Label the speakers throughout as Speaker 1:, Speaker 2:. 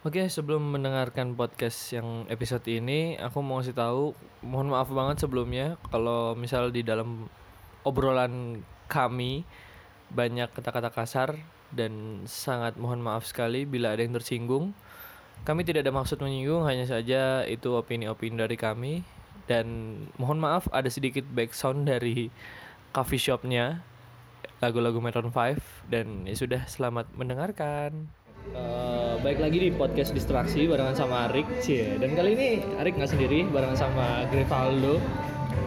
Speaker 1: Oke, sebelum mendengarkan podcast yang episode ini, aku mau ngasih tahu, mohon maaf banget sebelumnya kalau misal di dalam obrolan kami banyak kata-kata kasar dan sangat mohon maaf sekali bila ada yang tersinggung. Kami tidak ada maksud menyinggung, hanya saja itu opini-opini dari kami dan mohon maaf ada sedikit background dari coffee shopnya lagu-lagu Meron 5 dan ya sudah selamat mendengarkan. baik Eh, lagi di podcast distraksi barengan sama Arik Cie. Dan kali ini Arik nggak sendiri barengan sama Grevaldo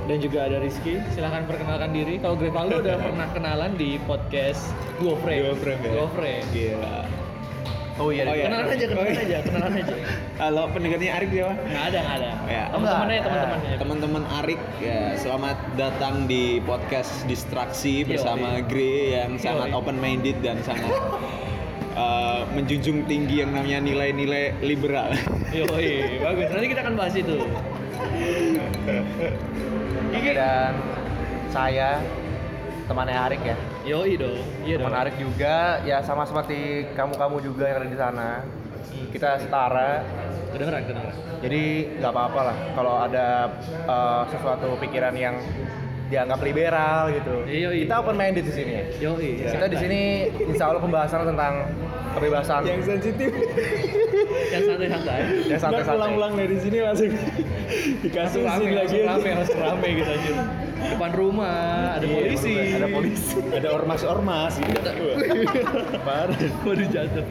Speaker 1: dan juga ada Rizky. Silahkan perkenalkan diri. Kalau Grevaldo udah pernah kenalan di podcast Duo Frame.
Speaker 2: Duo Frame ya?
Speaker 1: Duo Frame.
Speaker 2: Gila.
Speaker 3: Oh
Speaker 2: Iya.
Speaker 3: iya,
Speaker 2: Oh, iya.
Speaker 1: Kenalan aja, kenalan aja, kenalan aja.
Speaker 2: Halo pendengarnya Arik siapa?
Speaker 1: Nggak ada, nggak ada.
Speaker 2: Ya.
Speaker 1: Teman-temannya,
Speaker 3: Nggak.
Speaker 1: teman-temannya.
Speaker 2: Teman-teman Arik ya, selamat datang di podcast Distraksi bersama
Speaker 1: Yoi.
Speaker 2: Gre yang sangat
Speaker 1: Yoi.
Speaker 2: open minded dan sangat eh, menjunjung tinggi yang namanya nilai-nilai liberal.
Speaker 1: Yoi, bagus. Nanti kita akan bahas itu.
Speaker 3: dan saya temannya Arik ya.
Speaker 1: Yoi dong. Iya dong.
Speaker 3: Teman Arik juga ya sama seperti kamu-kamu juga yang ada di sana. Kita setara,
Speaker 1: Kedengeran, kedengeran.
Speaker 3: jadi nggak apa-apa lah kalau ada eh, sesuatu pikiran yang dianggap liberal gitu.
Speaker 1: Iya, iya.
Speaker 3: Kita open minded di sini.
Speaker 1: Yoi.
Speaker 3: Kita di sini insya Allah pembahasan tentang kebebasan
Speaker 2: yang sensitif.
Speaker 1: yang santai-santai.
Speaker 3: yang
Speaker 2: Dan
Speaker 3: santai-santai.
Speaker 2: pulang-pulang dari sini langsung dikasusin lagi.
Speaker 1: langsung rame, langsung rame gitu aja. Depan rumah ada
Speaker 2: Iya,
Speaker 1: polisi.
Speaker 3: Ada polisi.
Speaker 2: Ada ormas-ormas gitu. Parah.
Speaker 1: Waduh jatuh.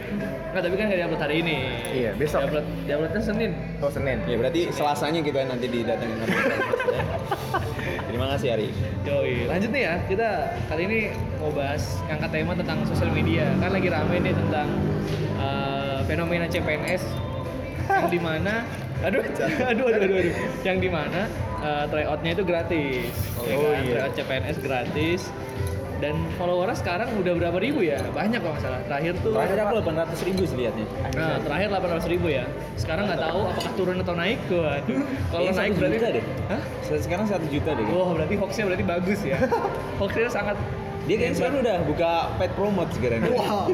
Speaker 1: Nggak, tapi kan nggak diupload hari ini.
Speaker 3: Iya, besok.
Speaker 1: Diupload, diuploadnya Senin.
Speaker 3: Oh Senin.
Speaker 2: Ya berarti selasanya kita nanti didatengin. Terima kasih Arik.
Speaker 1: Yoi. Lanjut nih ya, kita kali ini mau bahas ngangkat tema tentang sosial media. Kan lagi rame nih tentang eh, fenomena CPNS yang di mana aduh, aduh, aduh, aduh, aduh. yang di mana eh, tryoutnya itu gratis.
Speaker 3: Oh,
Speaker 1: ya
Speaker 3: oh
Speaker 1: kan?
Speaker 3: iya.
Speaker 1: Tryout CPNS gratis. Dan followernya sekarang udah berapa ribu ya? Banyak kalau nggak salah. Terakhir tuh
Speaker 2: Terakhir aku 800 ribu sih liatnya.
Speaker 1: Nah, terakhir 800 ribu ya. Sekarang nggak tahu apakah turun atau naik. Waduh. Kalau
Speaker 2: Kayaknya
Speaker 1: naik
Speaker 2: satu
Speaker 1: berarti
Speaker 2: juta deh.
Speaker 1: Hah?
Speaker 2: Se- Sekarang 1 juta deh.
Speaker 1: Wah, berarti hoaxnya berarti bagus ya. hoaxnya sangat
Speaker 2: Dia kayaknya sekarang udah buka pet promote sekarang.
Speaker 1: Wow.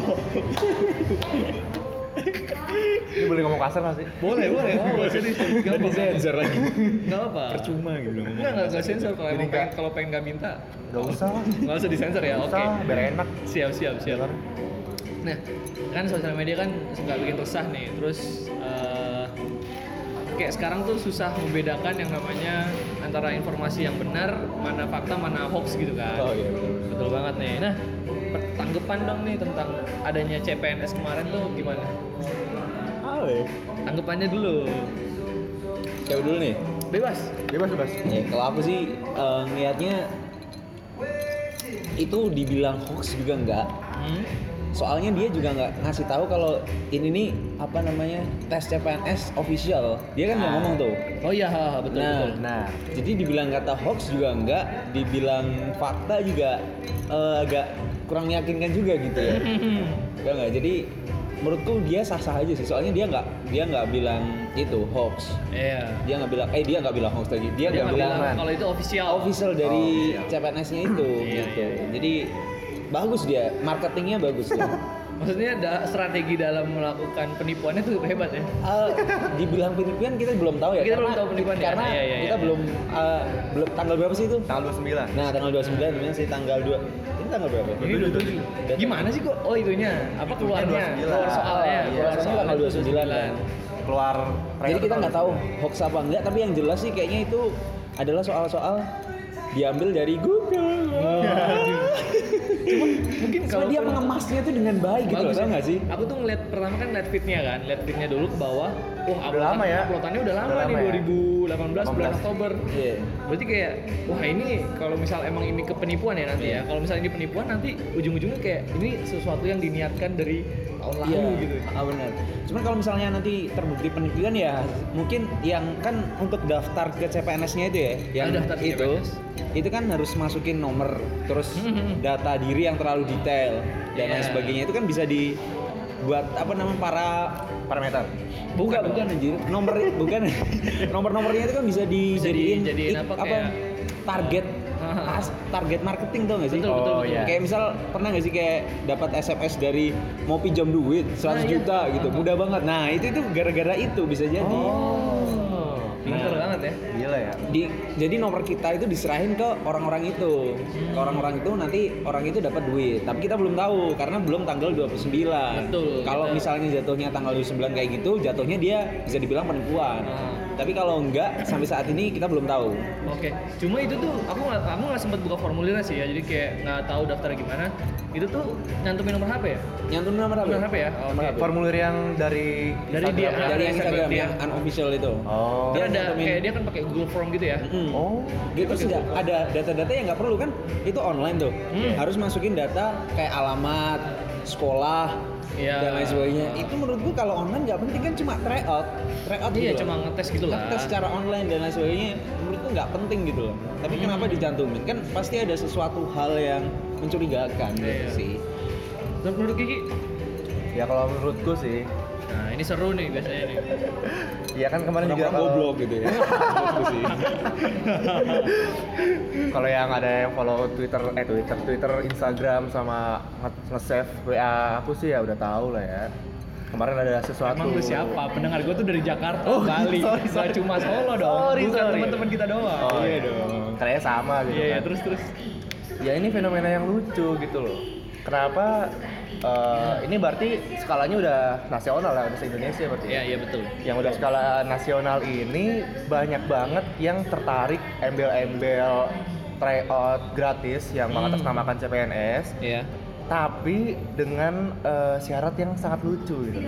Speaker 3: Ini boleh ngomong kasar nggak sih?
Speaker 1: Boleh, boleh. Boleh. Jadi
Speaker 2: Nggak
Speaker 1: apa-apa.
Speaker 2: disensor lagi.
Speaker 1: Nggak apa.
Speaker 2: Percuma gitu ngomong.
Speaker 1: Enggak, enggak enggak sensor kalau
Speaker 3: Jadi
Speaker 1: emang
Speaker 3: nggak-
Speaker 1: pengen kalau pengen nggak minta.
Speaker 3: Gak usah lah.
Speaker 1: Enggak usah disensor ya.
Speaker 3: Gak
Speaker 1: Oke.
Speaker 3: usah, biar enak. Iya,
Speaker 1: Siap, siap, siap.
Speaker 3: Bener.
Speaker 1: Nah, kan sosial media kan suka bikin resah nih. Terus eh, kayak sekarang tuh susah membedakan yang namanya antara informasi yang benar, mana fakta, mana hoax gitu kan.
Speaker 2: Oh iya. betul.
Speaker 1: Betul banget nih. Nah, per- tanggapan dong nih tentang adanya CPNS kemarin tuh gimana?
Speaker 2: Apa ya?
Speaker 1: Tanggapannya dulu.
Speaker 2: Siapa dulu nih?
Speaker 1: Bebas.
Speaker 3: Bebas, bebas.
Speaker 2: Ya, kalau aku sih eh, ngeliatnya itu dibilang hoax juga enggak.
Speaker 1: Hmm?
Speaker 2: Soalnya dia juga nggak ngasih tahu kalau ini nih apa namanya tes CPNS official. Dia kan nggak
Speaker 3: Ah.
Speaker 2: ngomong tuh.
Speaker 1: Oh iya, ha, ha, betul
Speaker 2: Nah,
Speaker 1: betul.
Speaker 3: Nah,
Speaker 2: Jadi dibilang kata hoax juga enggak, dibilang fakta juga eh, agak kurang meyakinkan juga gitu ya. Enggak enggak. Jadi menurutku dia sah-sah aja sih. Soalnya dia enggak dia enggak bilang itu hoax.
Speaker 1: Iya.
Speaker 2: Dia enggak bilang eh dia enggak bilang hoax lagi. Dia
Speaker 1: Dia
Speaker 2: enggak
Speaker 1: nggak
Speaker 2: bilang,
Speaker 1: bilang kalau itu official.
Speaker 2: official dari
Speaker 3: Oh, iya.
Speaker 2: CPNS-nya itu
Speaker 1: Iya,
Speaker 2: gitu.
Speaker 1: iya, iya.
Speaker 2: Jadi bagus dia, marketingnya bagus dia.
Speaker 1: Maksudnya da- strategi dalam melakukan penipuannya tuh hebat ya.
Speaker 2: Eh, dibilang penipuan kita belum tahu ya
Speaker 1: Kita
Speaker 2: karena,
Speaker 1: belum tahu penipuan ya.
Speaker 2: karena
Speaker 1: Iya, iya, iya.
Speaker 2: kita belum eh, belum tanggal berapa sih itu
Speaker 3: tanggal 29.
Speaker 2: Nah, tanggal 29 sebenarnya sih tanggal 2. Ini tanggal berapa? ya?
Speaker 1: Ini
Speaker 3: Betul,
Speaker 1: dulu.
Speaker 3: betul.
Speaker 1: Gimana sih kok? Oh itunya apa
Speaker 3: Itunya
Speaker 1: keluarnya?
Speaker 3: 29.
Speaker 1: Keluar soalnya.
Speaker 2: Oh, iya.
Speaker 1: Keluar
Speaker 2: Soalnya
Speaker 1: soalnya
Speaker 2: tanggal 29.
Speaker 3: Keluar
Speaker 2: Jadi kita nggak tahu hoax apa enggak, tapi yang jelas sih kayaknya itu adalah soal-soal diambil dari Google.
Speaker 1: Mungkin
Speaker 2: Cuma
Speaker 1: kalau
Speaker 2: dia mengemasnya tuh dengan baik gitu, loh,
Speaker 1: Bagus
Speaker 2: tau
Speaker 1: ya.
Speaker 2: nggak sih?
Speaker 1: Aku tuh ngeliat pertama kan ngeliat fitnya kan, lihat fitnya dulu ke bawah. Wah,
Speaker 3: Udah lama ya.
Speaker 1: Uploadannya udah lama
Speaker 3: Udah
Speaker 1: nih
Speaker 3: lama ya.
Speaker 1: 2018 bulan
Speaker 3: 18.
Speaker 1: Oktober.
Speaker 2: Iya.
Speaker 1: Berarti kayak wah ini kalau misal emang ini kepenipuan ya nanti ya. Kalau misalnya ini penipuan nanti ujung-ujungnya kayak ini sesuatu yang diniatkan dari tahun lalu
Speaker 2: Iya,
Speaker 1: gitu.
Speaker 2: ah, benar. Cuman kalau misalnya nanti terbukti penipuan ya mungkin yang kan untuk daftar ke CPNS-nya itu ya, yang
Speaker 1: Ah, daftar ke
Speaker 2: itu
Speaker 1: CPNS.
Speaker 2: itu kan harus masukin nomor, terus
Speaker 1: Mhm.
Speaker 2: data diri yang terlalu detail dan lain
Speaker 1: Iya.
Speaker 2: sebagainya itu kan bisa dibuat apa namanya para
Speaker 3: parameter.
Speaker 2: bukan bukan anjir nomor bukan nomor nomornya itu kan bisa dijadiin
Speaker 1: dijadiin
Speaker 2: ik-
Speaker 1: apa, kayak-
Speaker 2: target
Speaker 1: Hah?
Speaker 2: as- target marketing tau gak sih?
Speaker 1: Betul, betul,
Speaker 3: Oh,
Speaker 1: betul.
Speaker 3: iya.
Speaker 2: Kayak misal pernah gak sih kayak dapat SMS dari mau pinjam duit
Speaker 1: Nah,
Speaker 2: 100
Speaker 1: iya.
Speaker 2: juta gitu,
Speaker 1: Ah.
Speaker 2: mudah banget. Nah itu tuh gara-gara itu bisa jadi.
Speaker 1: Oh, pinter
Speaker 2: Nah.
Speaker 1: banget ya.
Speaker 3: Gila ya.
Speaker 2: Di, jadi nomor kita itu diserahin ke orang-orang itu. Ke orang-orang itu nanti orang itu dapat duit. Tapi kita belum tahu karena belum tanggal 29.
Speaker 1: Betul,
Speaker 2: Kalau
Speaker 1: kita-
Speaker 2: misalnya jatuhnya tanggal 29 kayak gitu, jatuhnya dia bisa dibilang penipuan.
Speaker 1: Ah.
Speaker 2: Tapi kalau enggak sampai saat ini kita belum tahu.
Speaker 1: Oke, cuma itu tuh aku nggak aku nggak sempet buka formulirnya sih ya, jadi kayak nggak tahu daftar gimana. Itu tuh nyantumin nomor HP ya?
Speaker 2: Nyantumin nomor
Speaker 1: Nomor
Speaker 2: apa?
Speaker 1: HP ya? Oke.
Speaker 3: Formulir yang dari
Speaker 1: Dari dia.
Speaker 3: Instagram ya?
Speaker 2: Dari yang Instagram
Speaker 1: Instagram dia.
Speaker 2: yang unofficial itu.
Speaker 3: Oh.
Speaker 1: Dia ada
Speaker 2: nyantumin. Iya.
Speaker 1: kayak dia kan pakai Google Form gitu ya.
Speaker 2: Mm-mm.
Speaker 3: Oh.
Speaker 2: Dia terus nggak- ada data-data yang nggak perlu kan? Itu online tuh.
Speaker 1: Hmm.
Speaker 2: Harus masukin data kayak alamat, sekolah,
Speaker 1: Iya.
Speaker 2: dan lain sebagainya. Itu menurut gua kalau online nggak penting kan cuma tryout, tryout
Speaker 1: Iya,
Speaker 2: gitu.
Speaker 1: cuma
Speaker 2: loh.
Speaker 1: ngetes gitu lah.
Speaker 2: Ngetes secara online dan lain sebagainya. Menurut gua nggak penting gitu loh. Tapi kenapa dicantumin? Kan pasti ada sesuatu hal yang mencurigakan gitu
Speaker 1: Iya.
Speaker 2: sih.
Speaker 1: Terus menurut Kiki,
Speaker 3: Ya kalau menurutku sih,
Speaker 1: nah ini seru nih biasanya nih.
Speaker 3: ya kan kemarin juga
Speaker 2: Orang-orang
Speaker 3: kalau-
Speaker 2: goblok gitu ya. Menurutku sih.
Speaker 1: Hmm.
Speaker 3: kalau yang ada yang follow Twitter, eh Twitter, Twitter, Instagram sama nge- nge-save WA aku sih ya udah tahu lah ya. Kemarin ada sesuatu.
Speaker 1: Emang lu siapa? Pendengar gue tuh dari Jakarta,
Speaker 3: Oh,
Speaker 1: Bali.
Speaker 3: sorry,
Speaker 1: Nggak
Speaker 3: sorry.
Speaker 1: cuma Solo dong.
Speaker 3: Sorry,
Speaker 1: Bukan
Speaker 3: sorry.
Speaker 1: teman-teman kita doang.
Speaker 3: Oh
Speaker 2: Iya
Speaker 3: iya
Speaker 2: dong.
Speaker 3: dong. Kayaknya sama
Speaker 1: Iya,
Speaker 3: gitu.
Speaker 1: iya,
Speaker 3: kan.
Speaker 1: terus terus.
Speaker 3: Ya ini fenomena yang lucu gitu loh. Kenapa? eh, ini berarti skalanya udah nasional lah, udah se Indonesia berarti. ya?
Speaker 1: Iya, iya betul.
Speaker 3: yang udah skala nasional ini banyak banget yang tertarik embel-embel tryout gratis yang
Speaker 1: Hmm.
Speaker 3: mengatasnamakan CPNS
Speaker 1: Iya.
Speaker 3: tapi dengan eh, syarat yang sangat lucu gitu.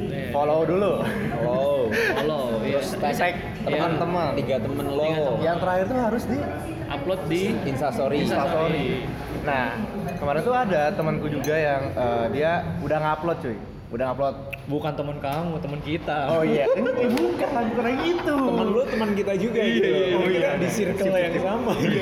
Speaker 1: Iya.
Speaker 3: Follow dulu.
Speaker 2: Wow.
Speaker 1: Follow, iya.
Speaker 3: Tag teman-teman.
Speaker 2: Tiga temen lo.
Speaker 1: Tiga temen.
Speaker 3: Yang terakhir tuh harus di
Speaker 1: Upload di
Speaker 2: Instastory.
Speaker 1: Instastory.
Speaker 3: Nah, kemarin tuh ada temanku juga yang eh, dia udah ngupload cuy. Udah ngupload.
Speaker 1: Bukan teman kamu, teman kita.
Speaker 3: Oh iya, Eh, bukan bukan kayak gitu.
Speaker 2: teman lu teman kita juga gitu loh.
Speaker 3: iya,
Speaker 2: Kita
Speaker 3: iya.
Speaker 2: di circle yang sama
Speaker 1: Iya,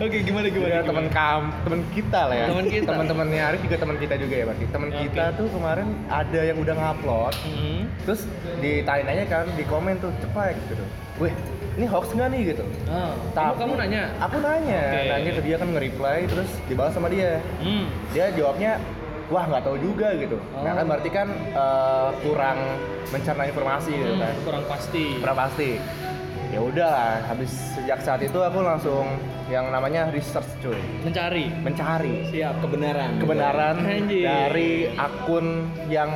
Speaker 1: Oke, gimana
Speaker 3: Ya, teman kam teman kita lah ya
Speaker 1: Teman kita.
Speaker 3: teman-temannya Arif juga teman kita juga ya berarti teman
Speaker 1: Oke.
Speaker 3: kita tuh kemarin ada yang udah ngupload
Speaker 1: Hmm.
Speaker 3: terus ditanya-tanya kan di komen tuh ceplek gitu weh ini hoax nggak nih gitu
Speaker 1: Ah,
Speaker 3: Tapi-
Speaker 1: kamu nanya.
Speaker 3: aku nanya
Speaker 1: Oke.
Speaker 3: nanya ke dia kan nge-reply terus dibalas sama dia
Speaker 1: Hmm.
Speaker 3: dia jawabnya wah nggak tahu juga gitu nah kan
Speaker 1: Oh.
Speaker 3: berarti kan eh, kurang mencerna informasi gitu
Speaker 1: Hmm,
Speaker 3: kan
Speaker 1: kurang pasti.
Speaker 3: Udah pasti. Ya udah, habis sejak saat itu aku langsung yang namanya research cuy,
Speaker 1: Mencari.
Speaker 3: mencari
Speaker 1: Siap.
Speaker 2: kebenaran
Speaker 3: kebenaran
Speaker 1: Anjir.
Speaker 3: dari akun yang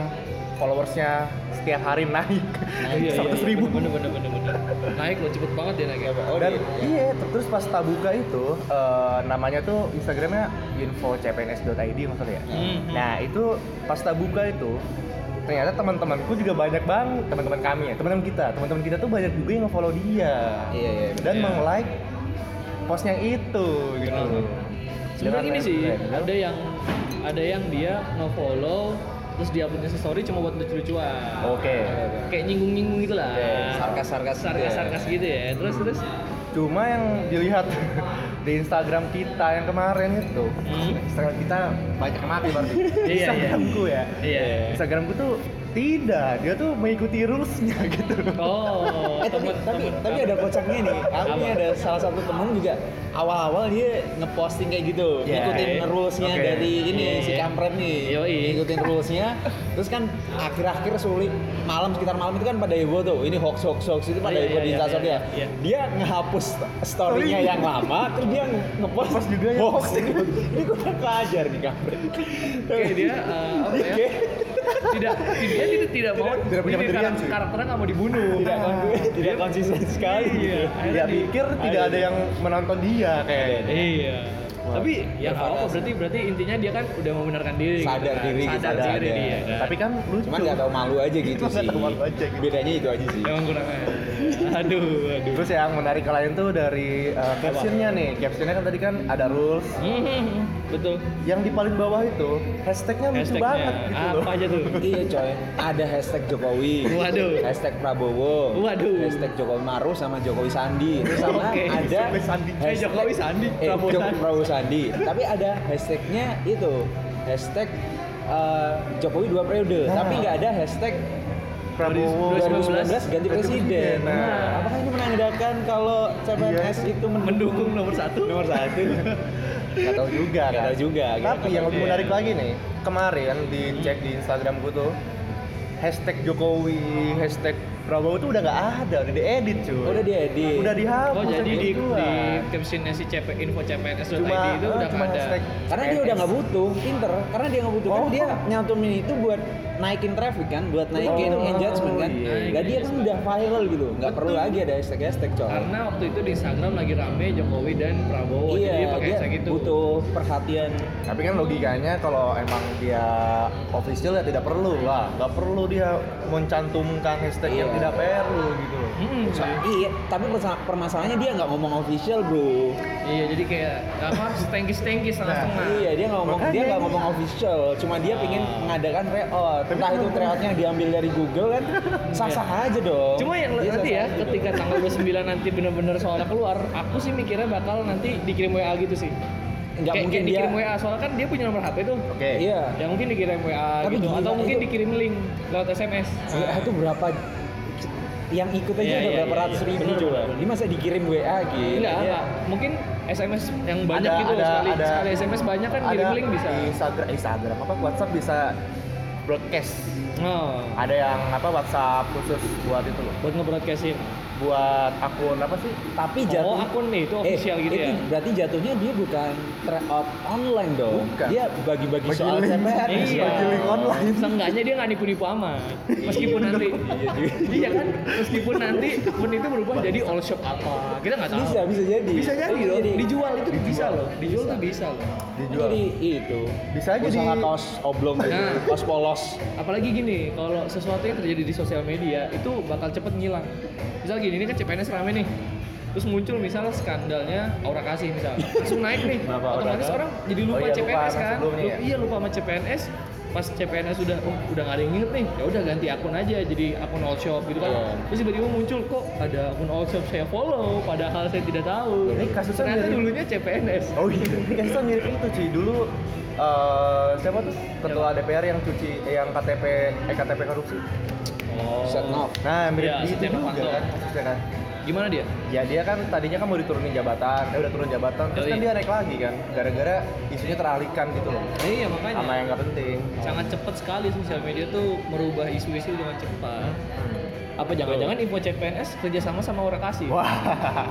Speaker 3: followersnya setiap hari naik
Speaker 1: Iya, Nah,
Speaker 3: Iya, seratus ribu.
Speaker 1: Bener, bener, bener, bener. Naik lo cepet banget ya naiknya.
Speaker 2: Oh,
Speaker 3: Dan
Speaker 2: iya.
Speaker 3: iya, ter- terus pas tabuka itu eh, namanya tuh Instagramnya info cpns.id maksudnya. ya.
Speaker 1: Hmm.
Speaker 3: Nah itu pas tabuka itu ternyata teman-temanku juga banyak banget teman-teman kami ya teman-teman kita teman-teman kita tuh banyak juga yang nge-follow dia
Speaker 2: iya iya
Speaker 3: dan
Speaker 1: Iya.
Speaker 3: meng-like post yang itu gitu.
Speaker 1: Betul. Sebenarnya
Speaker 3: Dengan
Speaker 1: gini sih,
Speaker 3: hashtag.
Speaker 1: ada yang ada yang dia nge-follow terus dia upload story cuma buat lucu-lucuan.
Speaker 3: Oke.
Speaker 1: Kayak nyinggung-nyinggung gitu lah.
Speaker 3: Oh. Oke,
Speaker 2: sarkas-sarkas gitu ya.
Speaker 1: Sarkas-sarkas gitu ya. Terus terus
Speaker 3: Cuma yang dilihat di Instagram kita yang kemarin itu,
Speaker 1: Hmm.
Speaker 3: Instagram kita banyak yang mati berarti.
Speaker 1: Iya, iya.
Speaker 3: Instagramku ya.
Speaker 1: iya.
Speaker 3: Instagramku tuh tidak, dia tuh mengikuti rules-nya gitu.
Speaker 1: Oh,
Speaker 2: eh tapi
Speaker 1: temen-
Speaker 2: tapi,
Speaker 1: temen-
Speaker 2: tapi ada kocaknya nih aku ini
Speaker 1: Apa?
Speaker 2: ada salah satu temen juga awal-awal dia ngeposting kayak gitu
Speaker 3: Iya.
Speaker 2: ngikutin rules-nya
Speaker 3: Oke.
Speaker 2: dari ini
Speaker 1: Iya.
Speaker 2: si kampret nih
Speaker 1: Yoi.
Speaker 2: ngikutin rules-nya terus kan akhir-akhir sulit malam sekitar malam itu kan pada heboh tuh ini hoax hoax hoax itu pada
Speaker 1: Iya,
Speaker 2: heboh
Speaker 1: iya,
Speaker 2: di
Speaker 1: iya,
Speaker 2: Instagram
Speaker 1: iya,
Speaker 2: dia
Speaker 1: iya.
Speaker 2: dia ngehapus story-nya
Speaker 3: Story.
Speaker 2: yang lama terus dia ngepost
Speaker 3: Post juga yang
Speaker 2: hoax
Speaker 3: hoax.
Speaker 2: ini ini gue ajar nih kampret
Speaker 1: Kayak dia eh, apa ya? Tidak, dia tidak, tidak mau
Speaker 3: Tidak- tidak punya
Speaker 1: dia
Speaker 3: pendirian,
Speaker 1: kar-
Speaker 3: cuy.
Speaker 1: karakternya nggak mau dibunuh. Ah.
Speaker 2: tidak tidak konsisten sekali
Speaker 1: Iya.
Speaker 3: Dia
Speaker 1: akhirnya di-
Speaker 3: pikir tidak ada yang menonton dia kayak.
Speaker 1: Iya.
Speaker 3: Wah,
Speaker 1: Tapi ya nggak
Speaker 2: bervariasi.
Speaker 1: apa berarti berarti intinya dia kan udah membenarkan diri.
Speaker 2: Sadar
Speaker 1: kan.
Speaker 2: diri,
Speaker 1: sadar,
Speaker 2: sadar
Speaker 1: diri
Speaker 2: dia.
Speaker 1: dia. Kan?
Speaker 3: Tapi kan lucu.
Speaker 2: cuman nggak tahu malu aja gitu
Speaker 3: Nggak
Speaker 2: sih
Speaker 3: tahu malu aja gitu.
Speaker 2: bedanya itu aja sih
Speaker 1: emang kurang aja. Aduh, aduh.
Speaker 3: Terus yang menarik lain tuh dari uh, captionnya nih, captionnya kan tadi kan ada rules.
Speaker 1: Hmm, betul.
Speaker 3: Yang di paling bawah itu hashtagnya lucu
Speaker 1: Hashtagnya
Speaker 3: banget gitu loh.
Speaker 1: apa aja tuh?
Speaker 2: iya coy ada hashtag Jokowi
Speaker 1: Waduh.
Speaker 2: hashtag Prabowo
Speaker 1: Waduh.
Speaker 2: hashtag Jokowi Maruf sama Jokowi Sandi terus sama
Speaker 1: Oke,
Speaker 2: ada
Speaker 3: Jokowi Sandi. Eh,
Speaker 2: hashtag-
Speaker 1: Jokowi Sandi,
Speaker 2: eh,
Speaker 1: Prabowo
Speaker 2: Jokowi
Speaker 1: Sandi.
Speaker 2: Prabowo Sandi tapi ada hashtagnya itu hashtag eh, Jokowi dua periode
Speaker 3: Nah.
Speaker 2: tapi nggak ada hashtag
Speaker 3: Prabowo
Speaker 2: 2019 ganti presiden.
Speaker 3: Nah. Iya.
Speaker 2: Nah, apakah ini menandakan kalau CPNS itu mendukung
Speaker 1: mendukung nomor satu
Speaker 2: nomor satu?
Speaker 3: Nggak tahu juga
Speaker 2: Nggak
Speaker 3: kan.
Speaker 2: tahu juga, gitu. nggak
Speaker 3: Tapi
Speaker 2: tahu
Speaker 3: yang lebih
Speaker 2: juga.
Speaker 3: menarik lagi nih, kemarin dicek di Instagram gue tuh hashtag Jokowi, hashtag Prabowo tuh udah nggak ada, udah diedit cuy.
Speaker 2: Udah diedit.
Speaker 3: Udah dihapus.
Speaker 1: oh jadi di, di
Speaker 3: keluar.
Speaker 1: captionnya si CP info CPNS itu
Speaker 3: cuma eh,
Speaker 1: udah
Speaker 3: cuma
Speaker 1: nggak ada
Speaker 3: hashtag
Speaker 2: Karena dia udah nggak butuh, pinter. Karena dia nggak butuh, kan
Speaker 3: Oh.
Speaker 2: dia nyatumin itu buat naikin traffic kan, buat naikin
Speaker 3: Oh,
Speaker 2: engagement kan.
Speaker 3: iya.
Speaker 2: Dan dia kan udah viral gitu, nggak perlu lagi ada hashtag hashtag coy.
Speaker 1: karena waktu itu di Instagram lagi rame Jokowi dan Prabowo jadi dia
Speaker 2: Iya,
Speaker 1: pakai
Speaker 2: dia
Speaker 1: hashtag itu
Speaker 2: butuh perhatian.
Speaker 3: tapi kan logikanya kalau emang dia official ya tidak perlu lah nggak perlu dia mencantumkan hashtag yang
Speaker 2: Iya.
Speaker 3: tidak perlu gitu loh
Speaker 1: Mm-mm, cuy.
Speaker 2: Iya, tapi persa- permasalahannya dia nggak ngomong official bro.
Speaker 1: iya jadi kayak apa stengkis stengkis setengah setengah
Speaker 2: Iya dia nggak ngomong
Speaker 3: Makanya
Speaker 2: dia nggak
Speaker 3: ini.
Speaker 2: ngomong official, cuma dia
Speaker 1: Ah.
Speaker 2: pingin mengadakan tryout.
Speaker 3: Tapi
Speaker 2: Entah itu
Speaker 3: kalau-
Speaker 2: tryoutnya diambil dari Google kan sah sah aja dong.
Speaker 1: Iya. Cuma yang nanti
Speaker 2: Dia
Speaker 1: ya,
Speaker 2: sah-sah aja dong.
Speaker 1: ketika tanggal 29 nanti bener-bener soalnya keluar, aku sih mikirnya bakal nanti dikirim WA gitu sih. Kayak-
Speaker 2: nggak mungkin
Speaker 1: kayak
Speaker 2: dia.
Speaker 1: dikirim WA, soalnya kan dia punya nomor HP tuh.
Speaker 3: oke
Speaker 2: Iya.
Speaker 1: Ya mungkin dikirim WA
Speaker 2: Tapi
Speaker 1: gitu,
Speaker 2: gila,
Speaker 1: atau mungkin
Speaker 2: itu-
Speaker 1: dikirim link lewat SMS.
Speaker 2: WA Iya, itu berapa yang ikut aja
Speaker 1: Iya,
Speaker 2: udah
Speaker 1: iya,
Speaker 2: berapa
Speaker 1: iya,
Speaker 2: ratus
Speaker 1: iya.
Speaker 2: ribu
Speaker 1: Bener,
Speaker 2: coba.
Speaker 1: bener.
Speaker 2: Ini masa dikirim WA gitu.
Speaker 1: Enggak,
Speaker 2: Iya.
Speaker 1: enggak. mungkin SMS yang banyak
Speaker 3: Ada-
Speaker 1: gitu loh,
Speaker 3: ada-
Speaker 1: sekali,
Speaker 3: ada-
Speaker 1: sekali SMS banyak kan kirim link bisa.
Speaker 2: Iya.
Speaker 3: Instagram Instagram apa WhatsApp bisa broadcast
Speaker 1: Oh,
Speaker 3: ada yang apa WhatsApp khusus buat itu loh
Speaker 1: buat nge-broadcastin.
Speaker 3: buat akun apa sih
Speaker 2: Tapi
Speaker 1: Oh,
Speaker 2: jatuh.
Speaker 1: akun nih itu
Speaker 2: eh,
Speaker 1: official gitu
Speaker 2: itu
Speaker 1: ya.
Speaker 2: berarti jatuhnya dia bukan tryout online dong.
Speaker 3: Bukan.
Speaker 2: Dia bagi-bagi
Speaker 3: Bagi
Speaker 2: soal
Speaker 3: link.
Speaker 2: CPR.
Speaker 1: Iya.
Speaker 3: bagi link online.
Speaker 1: Seenggaknya dia nggak nipu-nipu amat. Meskipun nanti, iya kan, meskipun nanti akun itu berubah jadi all shop apa, kita nggak tahu.
Speaker 2: Bisa bisa jadi.
Speaker 1: Bisa jadi loh,
Speaker 2: Jadi-
Speaker 1: dijual itu bisa loh, dijual tuh bisa loh.
Speaker 3: dijual
Speaker 2: Jadi itu
Speaker 3: Bisa aja
Speaker 2: usaha
Speaker 3: di-
Speaker 2: kaos oblong gitu,
Speaker 1: Nah.
Speaker 2: kaos polos.
Speaker 1: Apalagi gini, kalau sesuatu yang terjadi di sosial media itu bakal cepet ngilang. Misal gini, ini kan CPNS rame nih, terus muncul misalnya skandalnya aura kasih misal langsung naik nih
Speaker 3: Kenapa Aura
Speaker 1: otomatis
Speaker 3: Kasih?
Speaker 1: orang jadi
Speaker 3: Oh
Speaker 1: lupa
Speaker 3: iya, lupa
Speaker 1: CPNS
Speaker 3: sama
Speaker 1: kan
Speaker 3: sebelumnya
Speaker 1: Lu-
Speaker 3: ya?
Speaker 1: iya lupa sama CPNS pas CPNS sudah oh, udah nggak ada yang inget nih ya udah ganti akun aja jadi akun all shop gitu kan
Speaker 2: Iya.
Speaker 1: terus tiba-tiba muncul kok ada akun all shop saya follow padahal saya tidak tahu
Speaker 3: Ini kasusnya
Speaker 1: ternyata
Speaker 3: mirip-
Speaker 1: dulunya CPNS
Speaker 3: Oh iya, ini kan tuh mirip itu cuy dulu eh, siapa tuh ketua
Speaker 1: Iya.
Speaker 3: DPR yang cuci eh, yang KTP eh KTP korupsi.
Speaker 1: oh.
Speaker 2: Setnov.
Speaker 3: Nah mirip
Speaker 1: Iya,
Speaker 3: itu
Speaker 1: Setia
Speaker 3: juga
Speaker 1: Novanto.
Speaker 3: kan kasusnya kan.
Speaker 1: gimana dia
Speaker 3: Ya dia kan tadinya kan mau diturunin jabatan, eh udah turun jabatan, terus
Speaker 1: Yoi.
Speaker 3: kan dia naik lagi kan, gara-gara isunya teralihkan gitu loh,
Speaker 1: Nah, iya makanya Iya.
Speaker 3: sama yang nggak penting.
Speaker 1: sangat cepat sekali sosial media tuh merubah isu-isu dengan cepat. Apa jangan-jangan info CPNS kerjasama sama orang kasih?
Speaker 3: Hmm. Wah,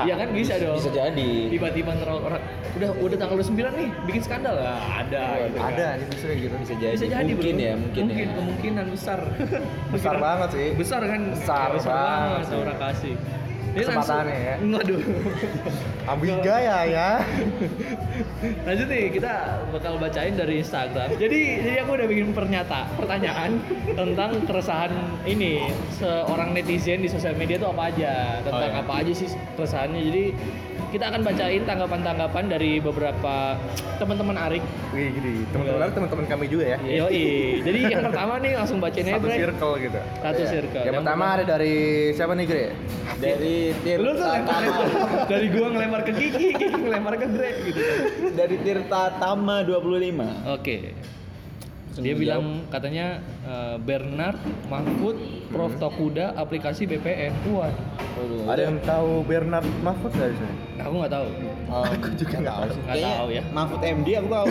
Speaker 1: Iya kan bisa dong.
Speaker 2: Bisa jadi.
Speaker 1: Tiba-tiba ntar orang udah udah tanggal 29 nih bikin skandal lah ada. gitu kan.
Speaker 3: Iya, ada aja justru kayak gitu.
Speaker 2: Bisa jadi.
Speaker 1: Bisa jadi
Speaker 2: mungkin
Speaker 1: bro.
Speaker 2: ya, mungkin, ya.
Speaker 1: kemungkinan besar.
Speaker 3: Besar
Speaker 1: Kemungkinan-
Speaker 3: banget sih.
Speaker 1: Besar kan?
Speaker 3: Besar
Speaker 1: Ya, besar banget
Speaker 3: banget sih.
Speaker 1: orang kasih.
Speaker 3: Kesempatannya ya.
Speaker 1: Waduh.
Speaker 3: Ambiga ya ya.
Speaker 1: Lanjut nih kita bakal bacain dari Instagram. Jadi jadi aku udah bikin pernyata pertanyaan tentang keresahan ini seorang netizen di sosial media itu apa aja tentang
Speaker 2: Oh, iya.
Speaker 1: apa aja sih keresahannya. Jadi kita akan bacain tanggapan-tanggapan dari beberapa teman-teman Arik.
Speaker 3: Wih, gini, teman-teman
Speaker 1: Iya.
Speaker 3: teman-teman kami juga ya.
Speaker 2: Iya.
Speaker 1: Yoi. Jadi yang pertama nih langsung bacain aja.
Speaker 3: Satu
Speaker 1: Bre.
Speaker 3: circle gitu.
Speaker 1: Satu
Speaker 3: Iya.
Speaker 1: circle.
Speaker 3: Yang
Speaker 1: Yang
Speaker 3: pertama
Speaker 1: pertama-
Speaker 3: ada dari siapa nih, Gre?
Speaker 2: Dari Tirta
Speaker 1: Lu tuh lempar
Speaker 2: Tama,
Speaker 1: dari gua ngelempar ke Kiki, Kiki ngelempar ke Greg gitu.
Speaker 2: dari Tirta Tama 25.
Speaker 1: Oke. Dia bilang katanya eh, Bernard, Mahfud, Prof Tokuda, aplikasi BPN. Wah,
Speaker 2: Waduh,
Speaker 3: Ada yang tahu Bernard Mahfud nggak di sini?
Speaker 1: Nah, aku nggak tahu.
Speaker 2: aku juga nggak tahu. sih.
Speaker 1: Nggak
Speaker 2: Kayaknya
Speaker 1: tahu ya.
Speaker 2: Mahfud MD aku tahu.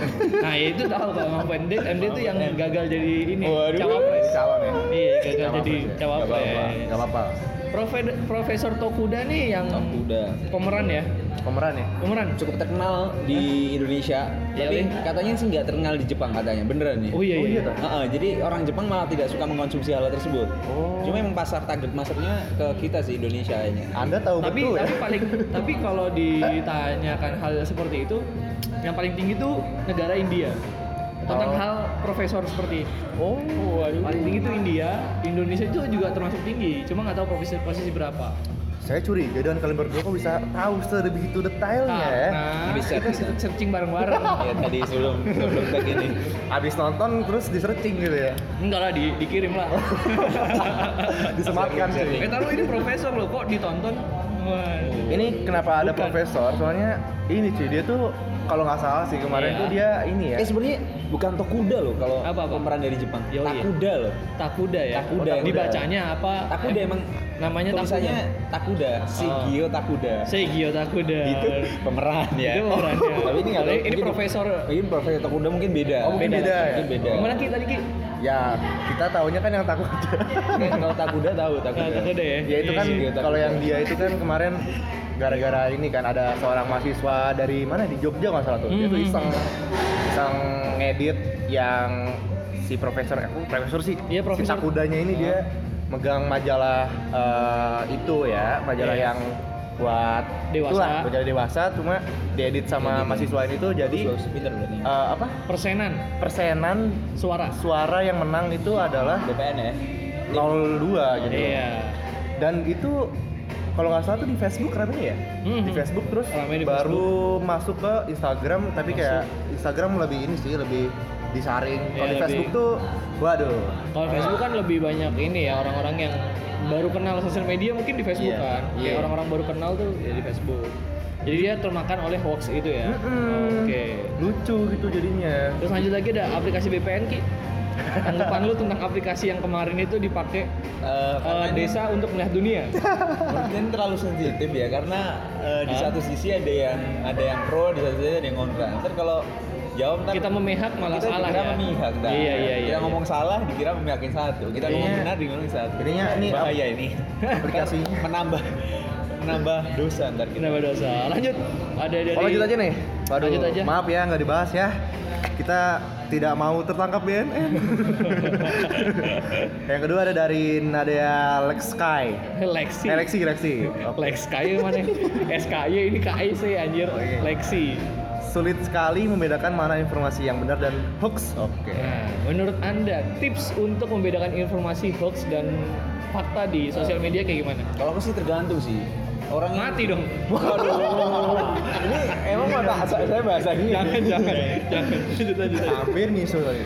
Speaker 1: Nah, ya itu tahu kalau Mahfud MD, MD itu yang gagal jadi ini
Speaker 2: Waduh.
Speaker 1: cawapres.
Speaker 3: Calon ya.
Speaker 1: Iya, gagal
Speaker 3: Nggak
Speaker 1: jadi
Speaker 3: apa-apa sih.
Speaker 1: cawapres.
Speaker 3: Nggak apa-apa, nggak apa-apa.
Speaker 1: Profe- Profesor Tokuda nih yang
Speaker 2: Tokuda.
Speaker 1: pemeran ya.
Speaker 3: Pemeran ya?
Speaker 1: Pemeran.
Speaker 2: Cukup terkenal di Indonesia,
Speaker 1: Iya,
Speaker 2: tapi
Speaker 1: Lin.
Speaker 2: katanya sih nggak terkenal di Jepang katanya, beneran nih.
Speaker 1: Oh iya
Speaker 3: Oh,
Speaker 1: iya.
Speaker 3: iya, toh.
Speaker 2: Heeh, jadi orang Jepang malah tidak suka mengkonsumsi hal tersebut.
Speaker 3: Oh.
Speaker 2: Cuma emang pasar target masaknya ke kita sih Indonesia kayaknya.
Speaker 3: Anda tahu
Speaker 1: tapi
Speaker 3: betul ya?
Speaker 1: tapi paling tapi kalau ditanyakan hal seperti itu yang paling tinggi tuh negara India tentang
Speaker 3: Oh.
Speaker 1: hal profesor seperti ini.
Speaker 3: Oh, waduh.
Speaker 1: paling tinggi tuh India Indonesia itu juga termasuk tinggi cuma nggak tahu posisi posisi berapa
Speaker 3: Saya curiga dengan kalian berdua kok bisa tahu sebegitu detailnya
Speaker 1: Nah,
Speaker 3: ya?
Speaker 1: karena
Speaker 2: Bisa,
Speaker 1: kita
Speaker 2: bisa.
Speaker 1: searching bareng bareng
Speaker 2: ya tadi sebelum sebelum tag ini.
Speaker 3: Abis nonton terus disearching gitu ya?
Speaker 1: enggak lah di, dikirim lah
Speaker 3: Disematkan
Speaker 1: eh
Speaker 3: sih.
Speaker 1: taruh ini profesor loh kok ditonton Waduh.
Speaker 3: Ini kenapa ada
Speaker 1: Bukan.
Speaker 3: profesor? Soalnya ini cuy, dia tuh kalau nggak salah sih kemarin
Speaker 1: Iya.
Speaker 3: tuh dia ini ya.
Speaker 2: Eh sebenarnya bukan Tokuda loh kalau
Speaker 1: Apa, apa?
Speaker 2: pemeran dari Jepang.
Speaker 1: Yoi.
Speaker 2: Takuda loh.
Speaker 1: Takuda ya.
Speaker 2: Takuda,
Speaker 1: Otak-
Speaker 2: Takuda.
Speaker 1: Dibacanya apa?
Speaker 2: Takuda
Speaker 1: Eh,
Speaker 2: emang
Speaker 1: namanya
Speaker 2: tulisannya
Speaker 1: Takuda.
Speaker 2: Takuda, Sigio Takuda.
Speaker 1: Seigyo Takuda.
Speaker 2: Itu Gitu.
Speaker 3: Gitu.
Speaker 2: pemeran ya.
Speaker 1: Iya. Itu pemerannya.
Speaker 2: Tapi ini nggak tahu,
Speaker 1: Ini
Speaker 2: mungkin-
Speaker 1: profesor.
Speaker 2: Mungkin Profesor Takuda mungkin beda.
Speaker 3: Oh, mungkin beda ya?
Speaker 2: Mungkin beda.
Speaker 1: Gimana Ki tadi Ki?
Speaker 3: Ya kita taunya kan yang takut aja.
Speaker 2: Nggak, Kalau Takuda tahu
Speaker 1: Nah,
Speaker 2: Takuda.
Speaker 1: Takuda ya.
Speaker 3: ya itu kan
Speaker 1: Iya,
Speaker 2: iya.
Speaker 3: kalau yang dia itu kan kemarin gara-gara ini kan ada seorang mahasiswa dari mana di Jogja nggak salah tuh. Dia tuh
Speaker 1: Mhm.
Speaker 3: iseng iseng ngedit yang si profesor aku profesor sih.
Speaker 1: Iya,
Speaker 3: Si
Speaker 1: profesor. Iya.
Speaker 3: Takudanya ini dia megang majalah eh, itu ya, majalah
Speaker 1: Iya.
Speaker 3: yang buat
Speaker 1: Dewasa. Iya,
Speaker 3: itulah, majalah dewasa cuma diedit sama
Speaker 2: Diedit.
Speaker 3: mahasiswa ini tuh jadi
Speaker 2: Bagus, pinter berarti.
Speaker 3: eh, apa
Speaker 1: Persenan
Speaker 3: persenan
Speaker 1: suara.
Speaker 3: suara yang menang itu adalah
Speaker 2: DPN ya.
Speaker 3: 02 gitu.
Speaker 1: Iya.
Speaker 3: Dan itu kalau nggak salah tuh di Facebook ramenya ya?
Speaker 1: Mhm.
Speaker 3: Di Facebook terus
Speaker 1: Ramai di
Speaker 3: baru masuk ke Instagram tapi kayak Instagram lebih ini sih lebih disaring.
Speaker 1: Iya,
Speaker 3: Kalau di
Speaker 1: lebih-
Speaker 3: Facebook tuh waduh.
Speaker 1: Kalau Facebook kan lebih banyak ini ya orang-orang yang baru kenal sosial media mungkin di Facebook
Speaker 3: Iya,
Speaker 1: kan. Kayak
Speaker 3: iya.
Speaker 1: orang-orang baru kenal tuh ya di Facebook. Jadi dia termakan oleh hoax itu ya.
Speaker 3: Mm-mm.
Speaker 1: Oke.
Speaker 3: Lucu gitu jadinya.
Speaker 1: Terus lanjut lagi ada aplikasi BPN Ki. Tanggapan lu tentang aplikasi yang kemarin itu dipakai
Speaker 2: Eh,
Speaker 1: eh, desa untuk melihat dunia.
Speaker 2: Mungkin terlalu sensitif ya karena eh, di
Speaker 1: Hah?
Speaker 2: satu sisi ada yang ada yang pro, di satu sisi ada yang kontra. Ntar kalau jawab ntar
Speaker 1: Kita memihak malah
Speaker 2: kita
Speaker 1: salah
Speaker 2: dikira
Speaker 1: ya.
Speaker 2: memihak, dah.
Speaker 1: Iya iya iya.
Speaker 2: Kita ngomong salah dikira memihakin satu. Kita ngomong
Speaker 3: Jadinya-
Speaker 2: benar dikira satu.
Speaker 3: jadinya ini
Speaker 2: bahaya ini.
Speaker 3: aplikasinya.
Speaker 2: Ntar menambah menambah dosa ntar kita.
Speaker 1: Kenapa dosa? Lanjut. Ada dari
Speaker 3: Kalau Oh, lanjut aja nih. Waduh,
Speaker 1: Lanjut aja.
Speaker 3: maaf ya nggak dibahas ya. Kita tidak mau tertangkap BNN. yang kedua ada dari Nadia Lex Sky.
Speaker 1: Lexi.
Speaker 3: Eh, Lexi, Lexi. Oke.
Speaker 1: Lex KY mana? SKY ini KIC anjir.
Speaker 3: Oh, iya.
Speaker 1: Lexi.
Speaker 3: Sulit sekali membedakan mana informasi yang benar dan hoax. Oke.
Speaker 1: Nah, menurut Anda tips untuk membedakan informasi hoax dan fakta di sosial media kayak gimana?
Speaker 2: Kalau aku sih tergantung sih. Orang yang-
Speaker 1: Mati dong.
Speaker 2: Waduh. ini emang bahasa saya bahasa gini.
Speaker 1: Jangan, jangan, jangan. Lanjut, lanjut, lanjut.
Speaker 3: Hampir nyusul tadi.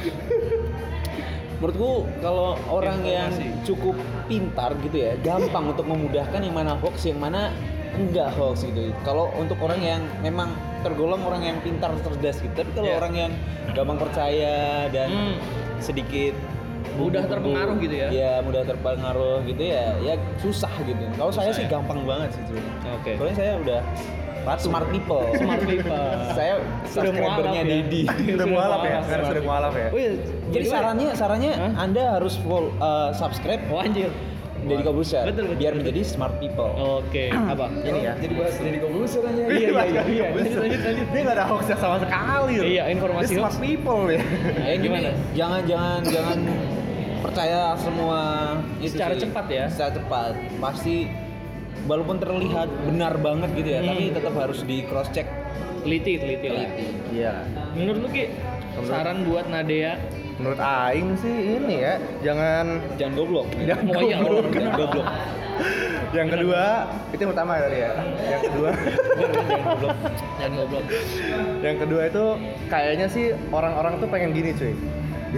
Speaker 2: menurutku kalau orang yang
Speaker 1: Informasi.
Speaker 2: cukup pintar gitu ya gampang untuk memudahkan yang mana hoax yang mana enggak hoax gitu kalau untuk orang yang memang tergolong orang yang pintar cerdas gitu tapi kalau
Speaker 1: Iya.
Speaker 2: orang yang gampang percaya dan
Speaker 1: Hmm.
Speaker 2: sedikit
Speaker 1: Mudah
Speaker 2: bumbu-bumbu,
Speaker 1: terpengaruh gitu ya?
Speaker 2: Iya, mudah terpengaruh gitu ya ya susah gitu kalau saya
Speaker 1: Susah
Speaker 2: sih
Speaker 1: ya?
Speaker 2: gampang banget sih sebenarnya
Speaker 1: Oke.
Speaker 2: soalnya saya udah smart people
Speaker 1: Smart people.
Speaker 2: saya
Speaker 1: Sudah
Speaker 2: subscribernya
Speaker 1: mualaf ya?
Speaker 2: Dedi
Speaker 3: Sudah mualaf ya,
Speaker 1: mualaf,
Speaker 3: sekarang
Speaker 1: sudah
Speaker 3: sudah mualaf ya.
Speaker 1: Oh iya,
Speaker 2: jadi
Speaker 1: gimana?
Speaker 2: sarannya sarannya
Speaker 1: Hah?
Speaker 2: anda harus follow, subscribe
Speaker 1: Oh anjir.
Speaker 2: Deddy Kobuser
Speaker 1: Betul, betul, Oh,
Speaker 2: biar
Speaker 1: betul.
Speaker 2: menjadi smart people.
Speaker 1: Oke, apa?
Speaker 3: Ini ya.
Speaker 2: Jadi bahas Deddy Kobuser aja.
Speaker 1: Iya, iya, iya, iya. Lanjut, lanjut, lanjut.
Speaker 3: Dia nggak ada hoaxnya sama sekali. loh.
Speaker 1: Iya, informasi
Speaker 3: Dia smart
Speaker 1: hoax.
Speaker 3: people ya.
Speaker 2: Nah, ini
Speaker 1: Gimana?
Speaker 2: Jangan jangan jangan percaya semua itu
Speaker 1: Secara
Speaker 2: sih.
Speaker 1: cepat ya?
Speaker 2: Secara cepat. Pasti walaupun terlihat benar banget gitu ya,
Speaker 1: Hmm.
Speaker 2: tapi tetap harus di cross check
Speaker 1: Teliti, teliti lah.
Speaker 2: teliti.
Speaker 3: Iya.
Speaker 1: Menurut lu Ki, saran buat Nadea
Speaker 3: Menurut Aing sih ini ya, jangan
Speaker 2: Jangan goblok.
Speaker 3: Jangan
Speaker 1: Oh iya,
Speaker 3: goblok.
Speaker 2: Jangan goblok.
Speaker 3: yang kedua itu yang pertama tadi ya. Yang kedua.
Speaker 1: dan goblok.
Speaker 3: Yang kedua itu kayaknya sih orang-orang tuh pengen gini cuy.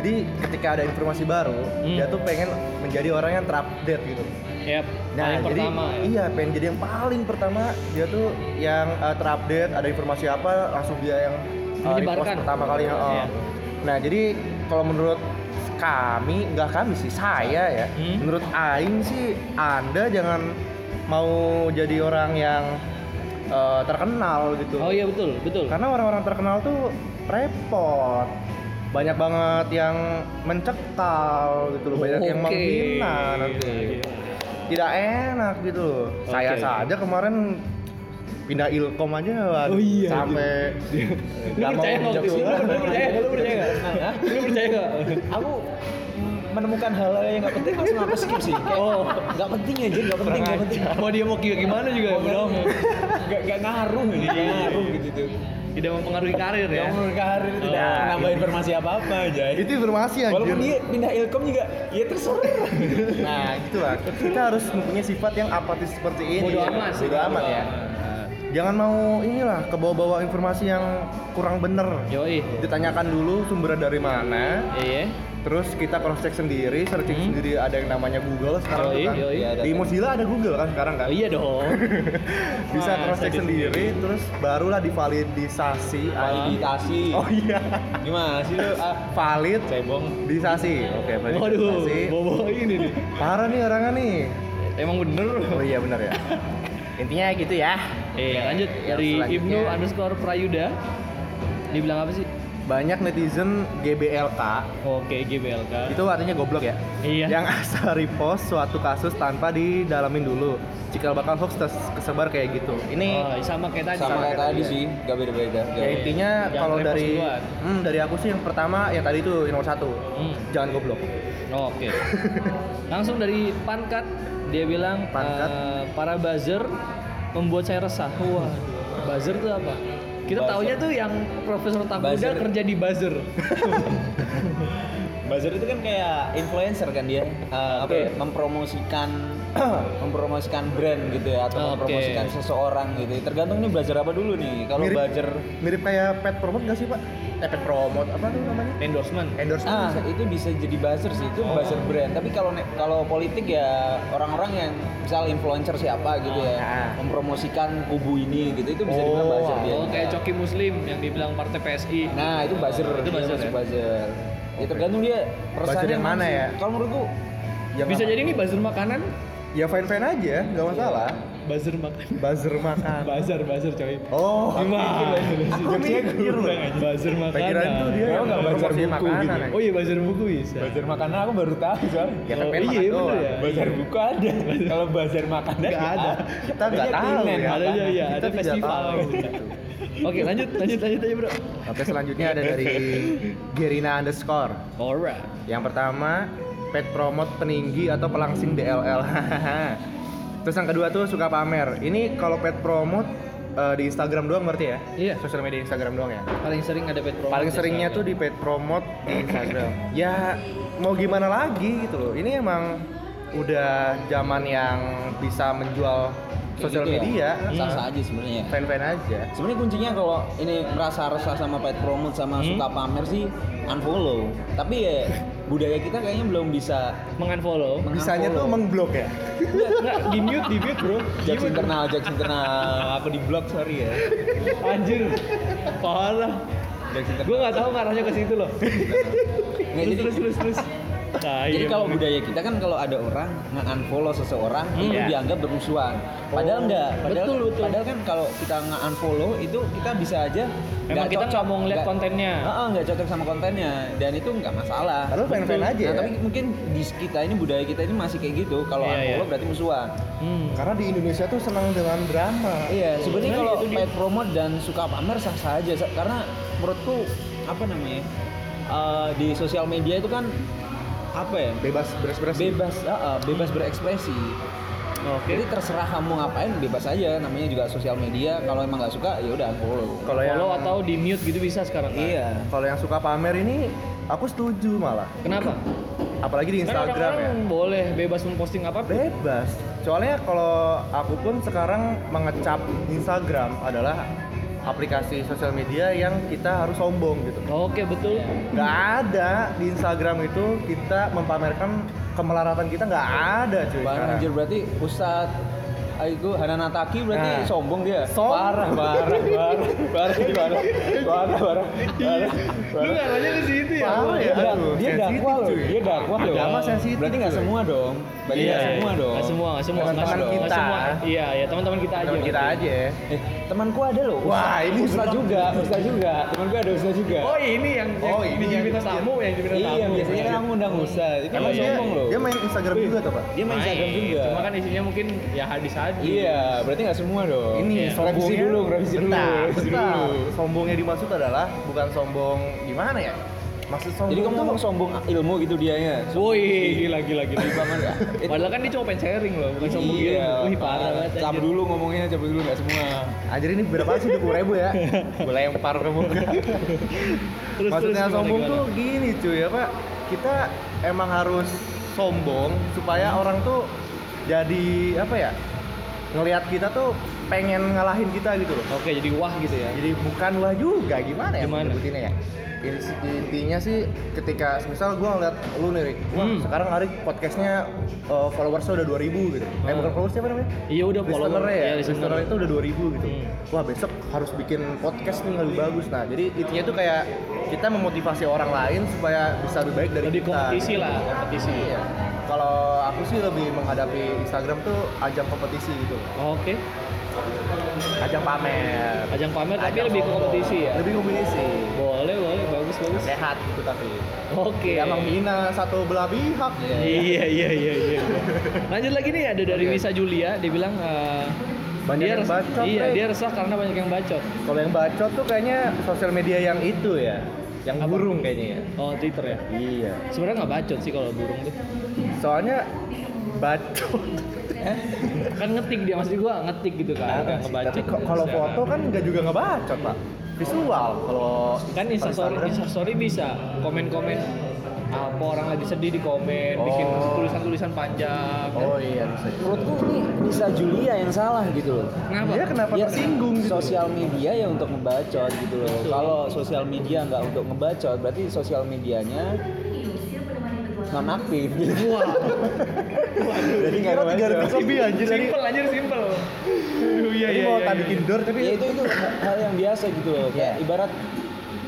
Speaker 3: Jadi ketika ada informasi baru,
Speaker 1: Hmm.
Speaker 3: dia tuh pengen menjadi orang yang terupdate gitu.
Speaker 1: Ya, paling
Speaker 3: jadi
Speaker 1: pertama ya.
Speaker 3: iya pengen jadi yang paling pertama dia tuh yang uh, terupdate ada informasi apa langsung dia yang uh,
Speaker 1: Menyebarkan.
Speaker 3: repost pertama kali. uh.
Speaker 1: Iya.
Speaker 3: Nah jadi kalau menurut kami nggak kami sih saya ya,
Speaker 1: Hmm.
Speaker 3: menurut Aing sih anda jangan mau jadi orang yang uh, terkenal gitu.
Speaker 1: Oh iya betul, betul.
Speaker 3: Karena orang-orang terkenal tuh repot. Banyak banget yang mencekal gitu loh, banyak yang
Speaker 1: Oke. Iya,
Speaker 3: menghina nanti. Tidak enak gitu loh.
Speaker 1: Oke.
Speaker 3: Saya saja kemarin pindah ilkom aja waduh,
Speaker 1: Oh iya,
Speaker 3: sampai
Speaker 1: Lu
Speaker 3: nggak
Speaker 1: percaya nggak waktu itu? Lu lu percaya nggak? Lu percaya nggak?
Speaker 2: Hah?
Speaker 1: Lu percaya nggak?
Speaker 2: Nah, Aku mm, menemukan hal-hal yang nggak penting langsung aku skip sih. Kayak,
Speaker 1: Oh.
Speaker 2: nggak penting aja, nggak penting, nggak penting.
Speaker 1: Mau dia mau kayak gimana juga ya, udah mau.
Speaker 2: Nggak nggak ngaruh, nggak ngaruh gitu tuh.
Speaker 1: Tidak mempengaruhi karir ya.
Speaker 2: Yang karir tidak
Speaker 3: Oh.
Speaker 2: menambah informasi apa-apa aja.
Speaker 3: itu informasi anjir.
Speaker 2: Walaupun dia pindah ilkom juga, ya terserah.
Speaker 3: Nah, gitu lah. Kita harus mempunyai sifat yang apatis seperti ini.
Speaker 1: Bodoh amat Nah, sih.
Speaker 3: Bodoh amat ya. Jangan mau inilah kebawa-bawa informasi yang kurang bener.
Speaker 1: Yoi.
Speaker 3: Ditanyakan dulu sumbernya dari mana,
Speaker 1: Iya.
Speaker 3: terus kita cross check sendiri searching sendiri ada yang namanya Google
Speaker 1: Hmm.
Speaker 3: sekarang
Speaker 1: Yoi,
Speaker 3: tuh kan
Speaker 1: yoi.
Speaker 2: Iya, ada
Speaker 3: di
Speaker 2: kan.
Speaker 3: Mozilla ada Google kan sekarang kan
Speaker 1: Oh, iya dong.
Speaker 3: bisa
Speaker 1: Wah,
Speaker 3: cross check
Speaker 1: sadis
Speaker 3: sendiri terus barulah divalidisasi
Speaker 2: validitasi
Speaker 3: oh iya
Speaker 2: gimana sih lu ah
Speaker 3: valid
Speaker 2: cebong
Speaker 3: disasi oke
Speaker 1: Waduh,
Speaker 3: validisasi
Speaker 1: bobo ini nih.
Speaker 3: parah nih orangnya nih
Speaker 1: Emang bener.
Speaker 3: oh iya benar ya intinya gitu ya
Speaker 1: Eh, lanjut
Speaker 3: yang
Speaker 1: dari
Speaker 3: selanjutnya.
Speaker 1: Ibnu underscore Prayuda. Dibilang apa sih?
Speaker 3: banyak netizen GBLK
Speaker 1: Oke, GBLK.
Speaker 3: itu artinya goblok ya
Speaker 1: Iya.
Speaker 3: yang asal repost suatu kasus tanpa didalamin dulu cikal bakal hoax tes- kesebar kayak gitu ini
Speaker 1: Oh, sama kayak tadi. Iya.
Speaker 2: sama kayak
Speaker 3: kayak
Speaker 2: tadi
Speaker 3: tadi.
Speaker 2: sih gak beda beda
Speaker 3: ya intinya
Speaker 1: Jangan
Speaker 3: kalau
Speaker 1: repost
Speaker 3: dari
Speaker 1: duluan.
Speaker 3: hmm, dari aku sih yang pertama ya tadi itu nomor satu
Speaker 1: Hmm.
Speaker 3: jangan goblok
Speaker 1: Oh, Oke. Langsung dari Pankat dia bilang
Speaker 3: Pankat.
Speaker 1: eh, para buzzer membuat saya resah. Wah, buzzer tuh apa? Kita
Speaker 2: Buzzer.
Speaker 1: taunya tuh yang Profesor Takuda
Speaker 2: Buzzer.
Speaker 1: kerja di buzzer.
Speaker 2: buzzer itu kan kayak influencer kan dia Eh, apa
Speaker 1: Oke.
Speaker 2: ya, mempromosikan mempromosikan brand gitu ya atau
Speaker 1: Oke.
Speaker 2: mempromosikan seseorang gitu tergantung nih buzzer apa dulu nih kalau
Speaker 3: Mirip.
Speaker 2: buzzer
Speaker 3: mirip kayak pet promote gak sih pak eh pet promote apa tuh namanya
Speaker 1: Endorsement.
Speaker 3: endorsement
Speaker 2: ah
Speaker 3: bisa.
Speaker 2: itu bisa jadi buzzer sih itu buzzer brand tapi kalau ne- kalau politik ya orang-orang yang misal influencer siapa gitu ya
Speaker 3: Ah.
Speaker 2: mempromosikan kubu ini gitu itu bisa dibilang
Speaker 3: Oh,
Speaker 2: buzzer dia
Speaker 1: Oh, kayak Coki Muslim yang dibilang partai PSI.
Speaker 2: Nah, itu buzzer.
Speaker 1: Itu
Speaker 2: Dia
Speaker 1: buzzer
Speaker 2: masuk
Speaker 1: ya?
Speaker 2: buzzer. Ya tergantung dia
Speaker 3: Buzzer yang mana
Speaker 2: sih.
Speaker 3: ya?
Speaker 2: Kalau menurutku
Speaker 3: Ya,
Speaker 1: Bisa
Speaker 3: nggak-
Speaker 1: jadi ini buzzer makanan,
Speaker 3: ya fine fine aja nggak masalah
Speaker 1: buzzer makan.
Speaker 3: buzzer makan
Speaker 1: Buzzer, buzzer coy.
Speaker 3: oh
Speaker 1: Gimana?
Speaker 3: Aku mikir loh.
Speaker 1: gitu. Buzzer makanan.
Speaker 3: pikiran tuh dia
Speaker 2: Emang nggak buzzer
Speaker 3: promosi
Speaker 2: buku
Speaker 3: makanan
Speaker 2: gitu?
Speaker 1: Oh iya buzzer buku bisa.
Speaker 2: buzzer makanan aku baru tahu, Sob.
Speaker 3: ya
Speaker 1: Oh,
Speaker 3: tapi
Speaker 1: iya,
Speaker 3: makan
Speaker 1: bener
Speaker 3: doang.
Speaker 1: ya.
Speaker 2: Buzzer buku ada. Kalau buzzer makanan ya,
Speaker 3: nggak ada kita nggak
Speaker 2: Adanya
Speaker 3: tahu
Speaker 2: demand,
Speaker 3: ya
Speaker 1: Ada ya, ya,
Speaker 3: Kita
Speaker 1: ada
Speaker 3: tidak
Speaker 1: festival.
Speaker 3: tahu.
Speaker 1: gitu. Oke, lanjut, lanjut, lanjut aja, Bro.
Speaker 3: oke selanjutnya ada dari Gerina underscore
Speaker 1: Alright.
Speaker 3: yang pertama pet promote peninggi atau pelangsing DLL terus yang kedua tuh suka pamer ini kalau pet promote eh, di Instagram doang berarti ya
Speaker 1: Iya.
Speaker 3: sosial media Instagram doang ya
Speaker 1: Paling sering ada pet promote.
Speaker 3: paling seringnya tuh di paid promote di Instagram. ya mau gimana lagi gitu loh. Ini emang udah zaman yang bisa menjual
Speaker 2: Kayak
Speaker 3: sosial
Speaker 2: gitu ya.
Speaker 3: media.
Speaker 2: Sah-sah aja sebenarnya.
Speaker 3: Fan-fan aja.
Speaker 2: Sebenarnya kuncinya kalau ini merasa resah sama pet promote sama suka pamer sih unfollow. Tapi ya budaya kita kayaknya belum bisa
Speaker 1: mengunfollow.
Speaker 3: Bisanya tuh
Speaker 2: meng
Speaker 3: mengblok ya.
Speaker 1: Enggak, di mute, di mute, Bro.
Speaker 2: jokes internal, jokes internal. Aku di blog sorry ya.
Speaker 1: Anjir. Parah.
Speaker 2: Jokes internal.
Speaker 1: Gue gak tahu ngarahnya ke situ loh.
Speaker 2: Nggak,
Speaker 1: terus,
Speaker 2: jadi-
Speaker 1: terus, terus, terus. Nah,
Speaker 2: Jadi
Speaker 1: iya,
Speaker 2: kalau
Speaker 1: bener.
Speaker 2: budaya kita kan kalau ada orang nge-unfollow seseorang
Speaker 1: Hmm.
Speaker 2: itu
Speaker 1: Iya.
Speaker 2: dianggap bermusuhan. Padahal
Speaker 1: Oh,
Speaker 2: enggak. Padahal,
Speaker 1: betul, betul.
Speaker 2: padahal kan kalau kita nge-unfollow itu kita bisa aja
Speaker 1: Emang kita nggak mau ngeliat
Speaker 2: nggak-
Speaker 1: kontennya.
Speaker 2: Heeh, nggak cocok sama kontennya dan itu nggak masalah.
Speaker 3: Padahal fan-fan aja
Speaker 2: Nah,
Speaker 3: ya.
Speaker 2: tapi mungkin di kita ini budaya kita ini masih kayak gitu. Kalau
Speaker 1: Iya,
Speaker 2: unfollow
Speaker 1: iya.
Speaker 2: berarti musuhan.
Speaker 1: Hmm.
Speaker 3: Karena di Indonesia tuh senang dengan drama.
Speaker 2: Iya, sebenarnya
Speaker 1: Nah,
Speaker 2: kalau
Speaker 1: itu dia.
Speaker 2: paid promote dan suka pamer sah-sah aja Sa- karena menurutku apa namanya? eh, di sosial media itu kan apa ya?
Speaker 3: Bebas berekspresi.
Speaker 2: bebas uh, uh, bebas berekspresi
Speaker 1: Oke.
Speaker 2: jadi terserah kamu ngapain bebas aja namanya juga sosial media kalau emang nggak suka ya udah unfollow
Speaker 3: Kalau yang
Speaker 1: Follow atau di mute gitu bisa sekarang. kan?
Speaker 2: iya
Speaker 3: kalau yang suka pamer ini aku setuju malah.
Speaker 1: Kenapa?
Speaker 3: Apalagi di
Speaker 1: Kan
Speaker 3: Instagram ya.
Speaker 1: orang-orang boleh bebas memposting apapun.
Speaker 3: bebas soalnya kalau aku pun sekarang mengecap Instagram adalah aplikasi sosial media yang kita harus sombong gitu
Speaker 1: Oke, betul.
Speaker 3: nggak ada di Instagram itu kita mempamerkan kemelaratan kita nggak ada cuy
Speaker 2: Bang
Speaker 3: sekarang.
Speaker 2: anjir berarti Ustad Aiku Hananataki berarti
Speaker 3: Nah.
Speaker 2: sombong dia
Speaker 3: Sombong.
Speaker 2: parah parah parah parah parah parah parah parah
Speaker 1: Lu ngarahnya ke situ ya.
Speaker 3: Parah
Speaker 1: Bro?
Speaker 3: ya,
Speaker 2: dia,
Speaker 3: aduh,
Speaker 2: dia
Speaker 3: sensitif,
Speaker 2: dakwah loh,
Speaker 3: cuy.
Speaker 2: dia dakwah loh.
Speaker 3: Agama sensitif,
Speaker 2: Berarti nggak
Speaker 3: cuy. Iya,
Speaker 2: semua dong. Berarti nggak semua dong.
Speaker 1: Iya, Nggak semua, nggak semua.
Speaker 3: Teman-teman
Speaker 1: Nggak
Speaker 3: kita.
Speaker 1: semua. Iya, ya teman-teman kita aja.
Speaker 3: Teman kita aja
Speaker 2: Eh, temanku ada loh.
Speaker 3: Wah, ini
Speaker 2: Ustad
Speaker 3: beneran.
Speaker 2: juga, Ustad juga. Temanku ada Ustad juga.
Speaker 1: Oh ini yang
Speaker 3: Oh,
Speaker 1: yang
Speaker 3: ini
Speaker 1: di
Speaker 3: yang-
Speaker 1: bintang tamu yang di bintang tamu.
Speaker 2: Iya, biasanya kan kamu undang Ustad. Itu
Speaker 1: Emang
Speaker 2: nggak
Speaker 3: dia,
Speaker 2: sombong loh.
Speaker 3: Iya, dia main Instagram juga tuh pak
Speaker 2: Dia main Instagram juga.
Speaker 1: Cuma kan isinya mungkin ya hadis hadis.
Speaker 2: Iya, berarti nggak semua dong.
Speaker 3: ini
Speaker 1: Iya.
Speaker 2: revisi
Speaker 3: sombongnya
Speaker 2: dulu, revisi dulu,
Speaker 3: Bentar,
Speaker 2: revisi
Speaker 3: bentar.
Speaker 2: dulu.
Speaker 3: sombongnya dimaksud adalah bukan sombong gimana ya maksud sombong
Speaker 2: Jadi kamu
Speaker 3: tuh-
Speaker 2: ngomong sombong ilmu gitu dianya.
Speaker 1: Woi, gila gila gila.
Speaker 2: Banget nggak? Eh,
Speaker 1: Padahal kan dia cuma pengen sharing loh, bukan sombong gitu.
Speaker 2: Iya,
Speaker 1: Wih, parah banget.
Speaker 2: Cap
Speaker 1: anjir.
Speaker 2: dulu ngomongnya, cap dulu nggak semua.
Speaker 3: Anjir ini berapa sih 20 ribu ya? Gue lempar ke muka.
Speaker 1: Terus,
Speaker 3: Maksudnya
Speaker 1: terus,
Speaker 3: sombong
Speaker 1: gimana,
Speaker 3: tuh gini cuy apa? Kita emang harus sombong supaya orang tuh jadi apa ya? Ngelihat kita tuh pengen ngalahin kita gitu loh
Speaker 1: Oke, jadi wah gitu ya.
Speaker 3: jadi bukan wah juga gimana ya
Speaker 1: Gimana?
Speaker 3: nyebutinnya ya Ins- intinya sih ketika misal gue ngeliat lu nih Rick Wah,
Speaker 1: Hmm.
Speaker 3: sekarang Rick podcastnya uh, followersnya udah 2000 gitu eh
Speaker 1: Hmm.
Speaker 3: bukan followers siapa namanya?
Speaker 1: Iya udah follower.
Speaker 3: listener ya,
Speaker 1: Iya,
Speaker 3: listener itu udah 2000 gitu.
Speaker 1: Hmm.
Speaker 3: Wah besok harus bikin podcast nih yang lebih bagus. Nah jadi intinya tuh kayak kita memotivasi orang lain supaya bisa lebih baik dari
Speaker 1: Lebih
Speaker 3: kita.
Speaker 1: kompetisi lah, kompetisi.
Speaker 3: Iya. Kalau aku sih lebih menghadapi Instagram tuh ajang kompetisi gitu,
Speaker 1: Oke,
Speaker 3: ajang pamer.
Speaker 1: ajang pamer tapi
Speaker 3: Ajang
Speaker 1: lebih ke
Speaker 3: sombong.
Speaker 1: kompetisi ya.
Speaker 3: Lebih kompetisi.
Speaker 1: Boleh, boleh, bagus, bagus.
Speaker 3: Sehat gitu tapi.
Speaker 1: Oke.
Speaker 3: Tidak menghina satu belah pihak.
Speaker 1: Iya iya iya iya. Lanjut lagi nih ada dari Wisa Julia, dia bilang eh,
Speaker 3: Banyak
Speaker 1: dia
Speaker 3: yang
Speaker 1: resah-
Speaker 3: bacot,
Speaker 1: Iya,
Speaker 3: Rek.
Speaker 1: dia resah karena banyak yang bacot.
Speaker 3: Kalau yang bacot tuh kayaknya sosial media yang itu ya, yang
Speaker 1: Apa?
Speaker 3: burung kayaknya ya.
Speaker 1: Oh, Twitter ya.
Speaker 3: Iya.
Speaker 1: Sebenarnya nggak bacot sih kalau burung tuh.
Speaker 3: Soalnya bacot.
Speaker 1: Kan ngetik dia maksud gua ngetik gitu kan. Nggak ngebacot.
Speaker 3: Nah, Tapi ko- kalau
Speaker 1: Secara-
Speaker 3: foto kan nggak juga ngebacot pak. Visual kalau
Speaker 1: kan instastory,
Speaker 3: Instagram.
Speaker 1: instastory bisa komen-komen apa orang lagi sedih di komen, bikin
Speaker 3: Oh.
Speaker 1: tulisan-tulisan panjang.
Speaker 3: Oh iya bisa. juga.
Speaker 2: Menurutku ini bisa Julia yang salah gitu loh.
Speaker 1: Kenapa?
Speaker 3: Dia Iya, kenapa
Speaker 2: Ya,
Speaker 3: tersinggung gitu?
Speaker 2: Sosial media ya untuk ngebacot gitu loh.
Speaker 1: Betul.
Speaker 2: Kalau sosial media nggak untuk ngebacot, berarti sosial medianya non aktif.
Speaker 1: Wah,
Speaker 2: Jadi nggak
Speaker 3: Kira tiga ribu
Speaker 2: ngebacot.
Speaker 3: lebih anjir Oh tadi.
Speaker 1: simple anjir simple. Aduh, Iya
Speaker 3: Tadi
Speaker 1: iya.
Speaker 3: mau
Speaker 1: iya,
Speaker 3: tadi
Speaker 1: iya.
Speaker 3: indoor tapi
Speaker 2: Ya itu itu hal yang biasa gitu loh. Kayak
Speaker 3: Yeah.
Speaker 2: ibarat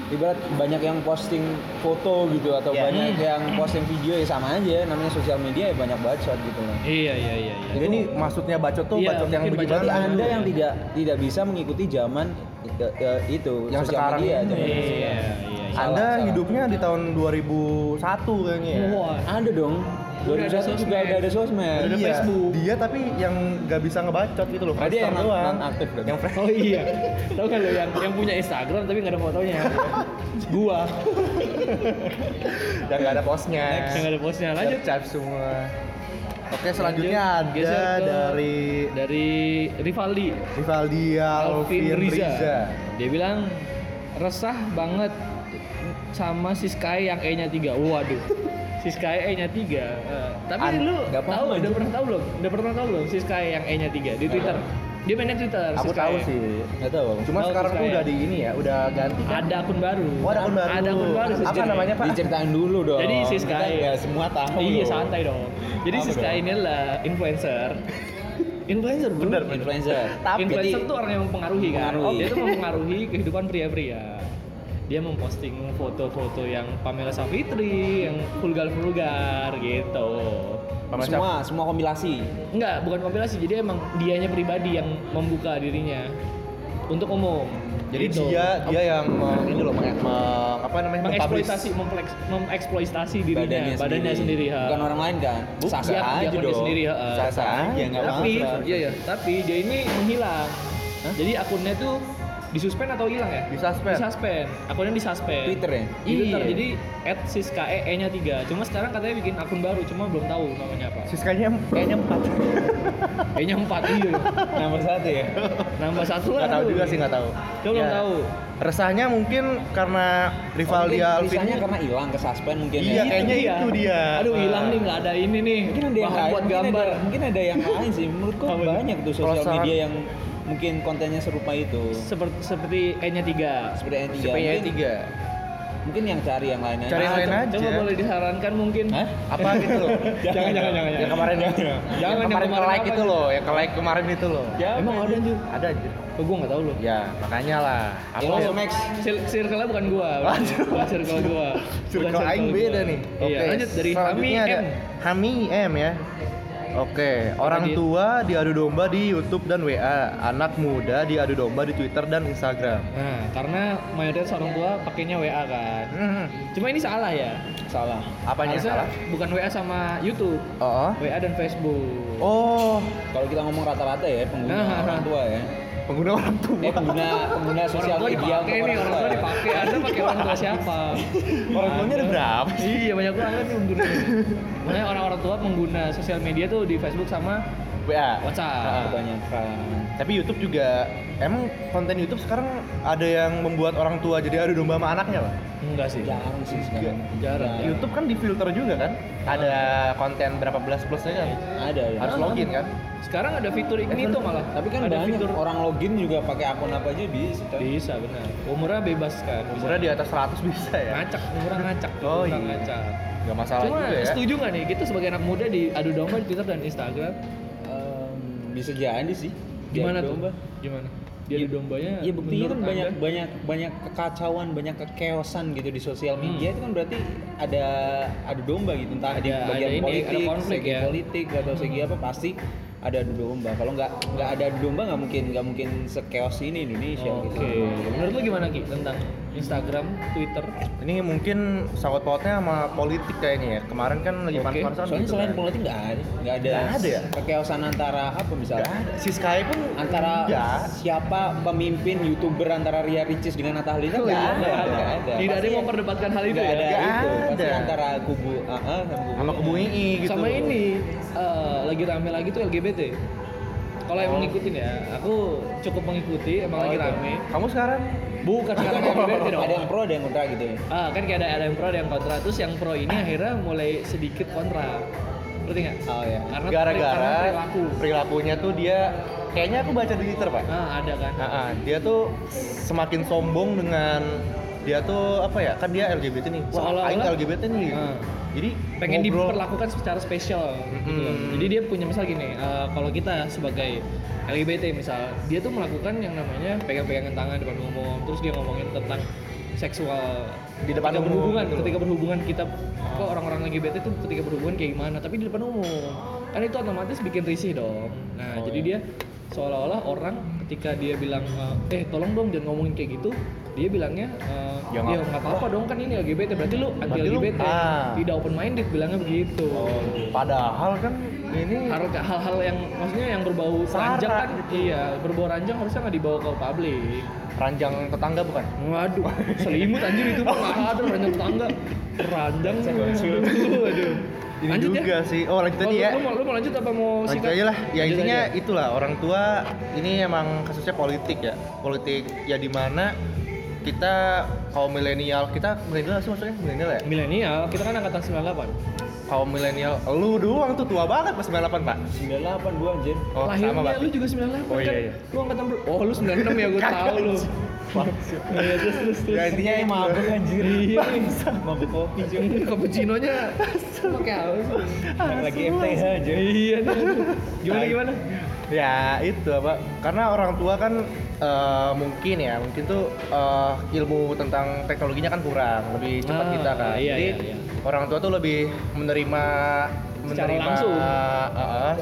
Speaker 2: ibarat banyak yang posting foto gitu atau
Speaker 3: Yeah.
Speaker 2: banyak yang posting video ya sama aja namanya sosial media ya banyak bacot gitu loh.
Speaker 1: Iya iya iya. iya.
Speaker 3: Jadi ini maksudnya bacot tuh
Speaker 1: Iya,
Speaker 3: bacot yang
Speaker 1: mungkin
Speaker 3: bagaimana?
Speaker 1: bacot
Speaker 2: Jadi
Speaker 1: Jangan
Speaker 2: anda yang tidak tidak bisa mengikuti zaman eh, eh, itu
Speaker 3: Yang
Speaker 2: sosial
Speaker 3: sekarang
Speaker 2: media.
Speaker 3: ini.
Speaker 2: zaman
Speaker 1: Iya, iya. iya.
Speaker 3: Anda
Speaker 2: Salah, salah.
Speaker 3: hidupnya di tahun 2001 kayaknya. ya?
Speaker 1: Wah,
Speaker 2: Ada dong.
Speaker 1: Udah ada
Speaker 2: 2001 juga
Speaker 1: sosmed.
Speaker 2: udah ada sosmed.
Speaker 1: Udah ada
Speaker 3: Iya,
Speaker 1: Facebook.
Speaker 3: Dia tapi yang nggak bisa ngebacot gitu loh.
Speaker 2: Berarti
Speaker 3: Friendster
Speaker 2: yang non-
Speaker 3: doang.
Speaker 2: non-aktif berarti.
Speaker 3: Yang friend-
Speaker 1: Oh iya, tau kan lo yang yang punya Instagram tapi nggak ada fotonya. Gua
Speaker 3: yang nggak ada posnya.
Speaker 1: yang nggak ada postnya. Lanjut
Speaker 3: Cap semua. Oke
Speaker 1: Lanjut,
Speaker 3: selanjutnya ada
Speaker 1: geser ke-
Speaker 3: dari
Speaker 1: dari Rivaldi,
Speaker 3: Rivaldi
Speaker 1: Alvin Riza.
Speaker 3: Riza.
Speaker 1: Dia bilang resah banget sama si Sky yang E-nya 3 Waduh. Si Sky E-nya 3. tapi
Speaker 3: An-
Speaker 1: lu
Speaker 3: nggak
Speaker 1: tahu
Speaker 3: paham
Speaker 1: udah
Speaker 3: aja.
Speaker 1: pernah tahu belum? Udah pernah tahu belum si Sky yang E-nya 3 di Twitter? Dia mainnya Twitter. si
Speaker 3: Aku
Speaker 1: Sky.
Speaker 3: tahu sih.
Speaker 2: Nggak tahu. aku.
Speaker 3: Cuma
Speaker 1: Tahu
Speaker 3: sekarang
Speaker 1: sih
Speaker 3: tuh
Speaker 1: saya.
Speaker 3: udah di ini ya, udah ganti. kan?
Speaker 1: Ada akun baru.
Speaker 3: Oh, ada akun baru.
Speaker 1: Ada akun baru. si
Speaker 3: Apa
Speaker 1: Sky.
Speaker 3: namanya, ya, Pak?
Speaker 2: Diceritain dulu dong.
Speaker 1: Jadi si
Speaker 2: Kita
Speaker 1: Sky-
Speaker 2: nggak semua tahu.
Speaker 1: Iya
Speaker 2: loh.
Speaker 1: santai dong. Jadi
Speaker 2: Apa
Speaker 1: si Sky
Speaker 2: dong?
Speaker 1: ini adalah influencer. influencer bro.
Speaker 3: Bener, bener.
Speaker 2: Influencer.
Speaker 3: Tapi-
Speaker 1: influencer
Speaker 2: Jadi-
Speaker 1: tuh orang yang mempengaruhi kan.
Speaker 2: Pengaruhi.
Speaker 1: Dia tuh mempengaruhi kehidupan pria-pria. Dia memposting foto-foto yang Pamela Savitri, yang vulgar-vulgar gitu.
Speaker 3: Sama siapa?
Speaker 2: semua semua kompilasi.
Speaker 1: Enggak, bukan kompilasi. Jadi emang dianya pribadi yang membuka dirinya untuk umum.
Speaker 3: Jadi
Speaker 1: Gitu.
Speaker 3: dia dia yang me- ini loh meng, me- apa namanya?
Speaker 1: mengeksploitasi mempleks- mempeksploitasi dirinya, badannya, sendiri. ha.
Speaker 2: Bukan orang lain kan?
Speaker 1: Buk-
Speaker 2: Sasa
Speaker 1: iya,
Speaker 2: aja
Speaker 1: akun dia
Speaker 2: dong.
Speaker 1: sendiri, heeh.
Speaker 2: Sasa aja nggak
Speaker 1: tapi
Speaker 2: apa-apa.
Speaker 1: iya ya, tapi dia ini menghilang. Jadi akunnya tuh disuspend atau hilang ya?
Speaker 3: Disuspend.
Speaker 1: Disuspend. Akunnya disuspend.
Speaker 2: Twitter ya?
Speaker 1: Di Twitter.
Speaker 3: Iya.
Speaker 1: Jadi @siskae nya 3. Cuma sekarang katanya bikin akun baru, cuma belum tahu namanya apa.
Speaker 3: Siskanya kayaknya empat.
Speaker 1: E-nya 4 iya.
Speaker 2: Nomor satu ya.
Speaker 1: Nambah satu lah.
Speaker 3: Nggak tahu
Speaker 1: tuh.
Speaker 3: juga sih nggak Iya. tahu. Ya.
Speaker 1: Kita belum tahu.
Speaker 3: Resahnya mungkin karena Rivaldi
Speaker 2: Mungkin
Speaker 3: Alvin.
Speaker 2: misalnya karena hilang ke suspend mungkin
Speaker 3: Iya,
Speaker 2: ya.
Speaker 1: Nah, Itu
Speaker 3: kayaknya
Speaker 1: dia.
Speaker 3: itu dia. Nah.
Speaker 1: Aduh, hilang nih nggak ada ini nih.
Speaker 2: mungkin ada yang
Speaker 1: Bahan
Speaker 2: lain
Speaker 1: buat
Speaker 2: mungkin
Speaker 1: gambar.
Speaker 2: ada, mungkin ada yang lain sih menurutku
Speaker 1: Apa tuh?
Speaker 2: banyak tuh sosial
Speaker 3: Kalau
Speaker 2: media yang mungkin kontennya serupa itu
Speaker 1: Seperti seperti E-nya 3.
Speaker 2: seperti yang tiga
Speaker 3: Siapa ya
Speaker 2: mungkin,
Speaker 3: tiga?
Speaker 2: mungkin yang cari yang lain aja.
Speaker 3: Cari yang lain
Speaker 1: co-
Speaker 3: aja.
Speaker 1: Nah, Coba boleh disarankan mungkin.
Speaker 2: Hah?
Speaker 3: Apa gitu loh?
Speaker 1: Jangan, jangan, jangan,
Speaker 3: Yang
Speaker 1: jangan.
Speaker 3: kemarin
Speaker 1: Jangan, yang
Speaker 3: yang kemarin
Speaker 1: kemarin
Speaker 3: like
Speaker 1: apa?
Speaker 3: itu loh, yang like kemarin itu loh.
Speaker 1: Jangan, Ya, Emang ada anjir?
Speaker 3: Ada aja.
Speaker 1: Oh, gua nggak tahu loh.
Speaker 3: Ya, makanya lah.
Speaker 2: Ya,
Speaker 3: Apa
Speaker 2: langsung next
Speaker 1: Sil- circle-nya bukan gua, bukan,
Speaker 3: Waduh.
Speaker 1: bukan circle gua. Bukan
Speaker 3: Circle aing
Speaker 1: gua.
Speaker 3: beda nih.
Speaker 1: Iya, lanjut dari Hami
Speaker 3: selanjutnya ada
Speaker 1: M.
Speaker 3: Hami M ya. Oke, orang
Speaker 1: dia?
Speaker 3: tua diadu domba di YouTube dan WA, anak muda diadu domba di Twitter dan Instagram.
Speaker 1: Nah, karena mayoritas orang tua pakainya WA kan.
Speaker 3: Hmm,
Speaker 1: Cuma ini salah ya.
Speaker 2: salah
Speaker 3: apanya yang
Speaker 1: Harusnya
Speaker 3: salah?
Speaker 1: bukan WA sama YouTube,
Speaker 3: Oh,
Speaker 1: WA dan Facebook.
Speaker 3: oh,
Speaker 2: kalau kita ngomong rata-rata ya pengguna
Speaker 1: Nah.
Speaker 2: orang tua ya
Speaker 3: pengguna orang tua.
Speaker 1: Iya.
Speaker 2: eh pengguna pengguna
Speaker 1: Orang
Speaker 2: sosial
Speaker 1: tua
Speaker 2: media
Speaker 1: dipakai
Speaker 2: untuk
Speaker 1: nih, orang tua
Speaker 2: ya.
Speaker 1: dipakai. Anda pakai orang tua siapa?
Speaker 3: Orang tuanya ada
Speaker 1: Anda-
Speaker 3: berapa?
Speaker 1: Iya banyak banget nih pengguna. Makanya orang-orang tua pengguna sosial media tuh di Facebook sama
Speaker 3: grup WA.
Speaker 1: WhatsApp.
Speaker 2: Ah, kebanyakan
Speaker 3: Tapi YouTube juga emang konten YouTube sekarang ada yang membuat orang tua jadi adu domba sama anaknya, Pak.
Speaker 1: Enggak sih.
Speaker 2: jarang sih sekarang
Speaker 1: Jarang.
Speaker 2: Nah,
Speaker 3: YouTube kan difilter juga kan? Ada konten berapa belas plusnya kan?
Speaker 2: ada ya
Speaker 3: Harus
Speaker 1: Ah.
Speaker 3: login kan?
Speaker 1: Sekarang ada fitur Ignito malah.
Speaker 2: tapi kan
Speaker 1: ada
Speaker 2: banyak
Speaker 1: fitur Iya.
Speaker 2: orang login juga pakai akun apa aja bisa coy.
Speaker 1: bisa benar. Umurnya bebas kan. bisa.
Speaker 3: Umurnya di atas 100 bisa ya?
Speaker 1: ngacak, umurnya ngacak,
Speaker 3: Oh,
Speaker 1: umurnya
Speaker 3: iya.
Speaker 1: ngacak.
Speaker 3: Gak masalah
Speaker 1: Cuma
Speaker 3: juga ya?
Speaker 1: setuju nggak nih kita sebagai anak muda di adu domba di Twitter dan Instagram
Speaker 2: Em, bisa jadi sih
Speaker 1: gimana
Speaker 2: Diadu domba.
Speaker 1: tuh? Gimana? Dia adu dombanya?
Speaker 2: Iya buktinya kan
Speaker 1: menurut
Speaker 2: banyak
Speaker 1: Anda?
Speaker 2: banyak banyak kekacauan, banyak kekeosan gitu di sosial media itu kan berarti ada ada domba gitu entah di
Speaker 1: Ada-
Speaker 2: bagian
Speaker 1: ada ini,
Speaker 2: politik,
Speaker 1: ada konflik
Speaker 2: segi
Speaker 1: ya.
Speaker 2: politik atau segi apa pasti ada adu domba. Kalau nggak nggak ada adu domba nggak mungkin nggak mungkin sekeos ini Indonesia
Speaker 1: Oke.
Speaker 2: gitu.
Speaker 1: Menurut lu gimana Ki tentang Instagram, Twitter?
Speaker 3: Ini mungkin sangkut pautnya sama politik kayaknya ya? Kemarin kan lagi
Speaker 1: Oke.
Speaker 3: panas-panasan
Speaker 2: Soalnya
Speaker 3: gitu
Speaker 2: selain
Speaker 3: kan?
Speaker 2: politik nggak ada nggak ada,
Speaker 3: Nggak ada ya?
Speaker 2: kekeosan antara apa
Speaker 3: Nggak
Speaker 2: misalnya?
Speaker 3: ada. Si Sky pun ya,
Speaker 2: antara
Speaker 3: nggak.
Speaker 2: siapa pemimpin youtuber antara Ria Ricis dengan Atta Halilintar nggak
Speaker 3: Nggak
Speaker 2: ada,
Speaker 3: ada.
Speaker 2: nggak ada.
Speaker 1: Tidak ada
Speaker 2: Pasti-
Speaker 1: yang memperdebatkan hal itu
Speaker 2: Nggak
Speaker 1: ya.
Speaker 2: ada
Speaker 3: Nggak
Speaker 2: itu pasti
Speaker 3: ada.
Speaker 2: antara kubu AA sama kubu
Speaker 3: sama kubu II gitu.
Speaker 1: Sama ini eh, lagi rame lagi tuh LGBT. Kalau
Speaker 2: Oh.
Speaker 1: yang ngikutin ya, aku cukup mengikuti emang lagi rame.
Speaker 3: Kamu sekarang
Speaker 1: Bukan sekarang LGBT dong.
Speaker 2: gitu. ada yang pro ada yang kontra gitu ya
Speaker 1: Ah, kan kayak ada, ada yang pro ada yang kontra terus yang pro ini akhirnya mulai sedikit kontra ngerti nggak
Speaker 2: oh ya
Speaker 1: karena karena
Speaker 3: gara-gara
Speaker 1: perilaku
Speaker 3: perilakunya tuh dia kayaknya aku baca di Twitter, Pak.
Speaker 1: ah ada kan
Speaker 3: Ah, ah, dia tuh semakin sombong dengan dia tuh apa ya? Kan dia LGBT nih.
Speaker 1: Seolah-olah-
Speaker 3: Wah, aing LGBT nih.
Speaker 1: Ah.
Speaker 3: Jadi
Speaker 1: pengen
Speaker 3: ngobrol- Mm-hmm.
Speaker 1: diperlakukan secara spesial gitu loh.
Speaker 3: Mm-mm.
Speaker 1: jadi dia punya misal gini eh, kalau kita sebagai LGBT misal dia tuh melakukan yang namanya pegang-pegangan tangan depan umum terus dia ngomongin tentang seksual
Speaker 3: Di depan
Speaker 1: ketika
Speaker 3: umum,
Speaker 1: berhubungan
Speaker 3: gitu loh.
Speaker 1: ketika berhubungan kita kok orang-orang LGBT tuh ketika berhubungan kayak gimana tapi di depan umum kan itu otomatis bikin risih dong
Speaker 3: Oh,
Speaker 1: nah jadi
Speaker 3: iya.
Speaker 1: dia seolah-olah orang ketika dia bilang eh tolong dong jangan ngomongin kayak gitu dia bilangnya eh,
Speaker 3: Ya
Speaker 1: ya
Speaker 3: nggak-
Speaker 1: nggak apa-apa dong kan ini LGBT berarti lu anti
Speaker 3: Berarti lu-
Speaker 1: LGBT
Speaker 3: ah. Oh,
Speaker 1: tidak open minded bilangnya begitu
Speaker 3: Padahal kan ini
Speaker 1: Harus ke hal-hal yang maksudnya yang berbau
Speaker 3: Sara
Speaker 1: ranjang kan
Speaker 3: gitu.
Speaker 1: iya berbau ranjang harusnya nggak dibawa ke publik
Speaker 3: ranjang tetangga bukan?
Speaker 1: waduh selimut anjir itu mah nggak ada ranjang tangga ranjang waduh
Speaker 3: Ini juga sih. Oh, lanjut
Speaker 1: Oh,
Speaker 3: tadi ya.
Speaker 1: lu, mau, lu mau lanjut apa mau
Speaker 3: Lanjut
Speaker 1: sikat?
Speaker 3: aja lah. Ya
Speaker 1: Lanjut
Speaker 3: intinya
Speaker 1: aja.
Speaker 3: itulah orang tua ini emang kasusnya politik ya. Politik ya di mana kita kaum milenial kita milenial sih maksudnya milenial ya.
Speaker 1: milenial kita kan angkatan 98
Speaker 3: Kaum milenial lu doang tuh tua banget pas 98, Pak.
Speaker 2: 98 gua anjir
Speaker 3: Oh, sama
Speaker 1: lahirnya
Speaker 3: Pak.
Speaker 1: lu juga 98
Speaker 3: Oh, iya,
Speaker 1: kan
Speaker 3: iya.
Speaker 1: lu angkatan ber oh lu 96 ya gue tahu lu Iya, terus terus terus
Speaker 3: Ya intinya
Speaker 2: Eh,
Speaker 3: emang
Speaker 2: mabuk anjir mabuk kopi cuy
Speaker 1: Cappuccino-nya pakai haus.
Speaker 2: Yang lagi MTH aja
Speaker 1: Iya. nih. Gimana gimana?
Speaker 3: ya itu apa karena orang tua kan eh, mungkin ya mungkin tuh eh, ilmu tentang teknologinya kan kurang lebih cepat
Speaker 1: Ah,
Speaker 3: kita kan
Speaker 1: iya, iya, iya.
Speaker 3: jadi orang tua tuh lebih menerima
Speaker 1: Secara
Speaker 3: menerima
Speaker 1: langsung.
Speaker 3: eh, eh,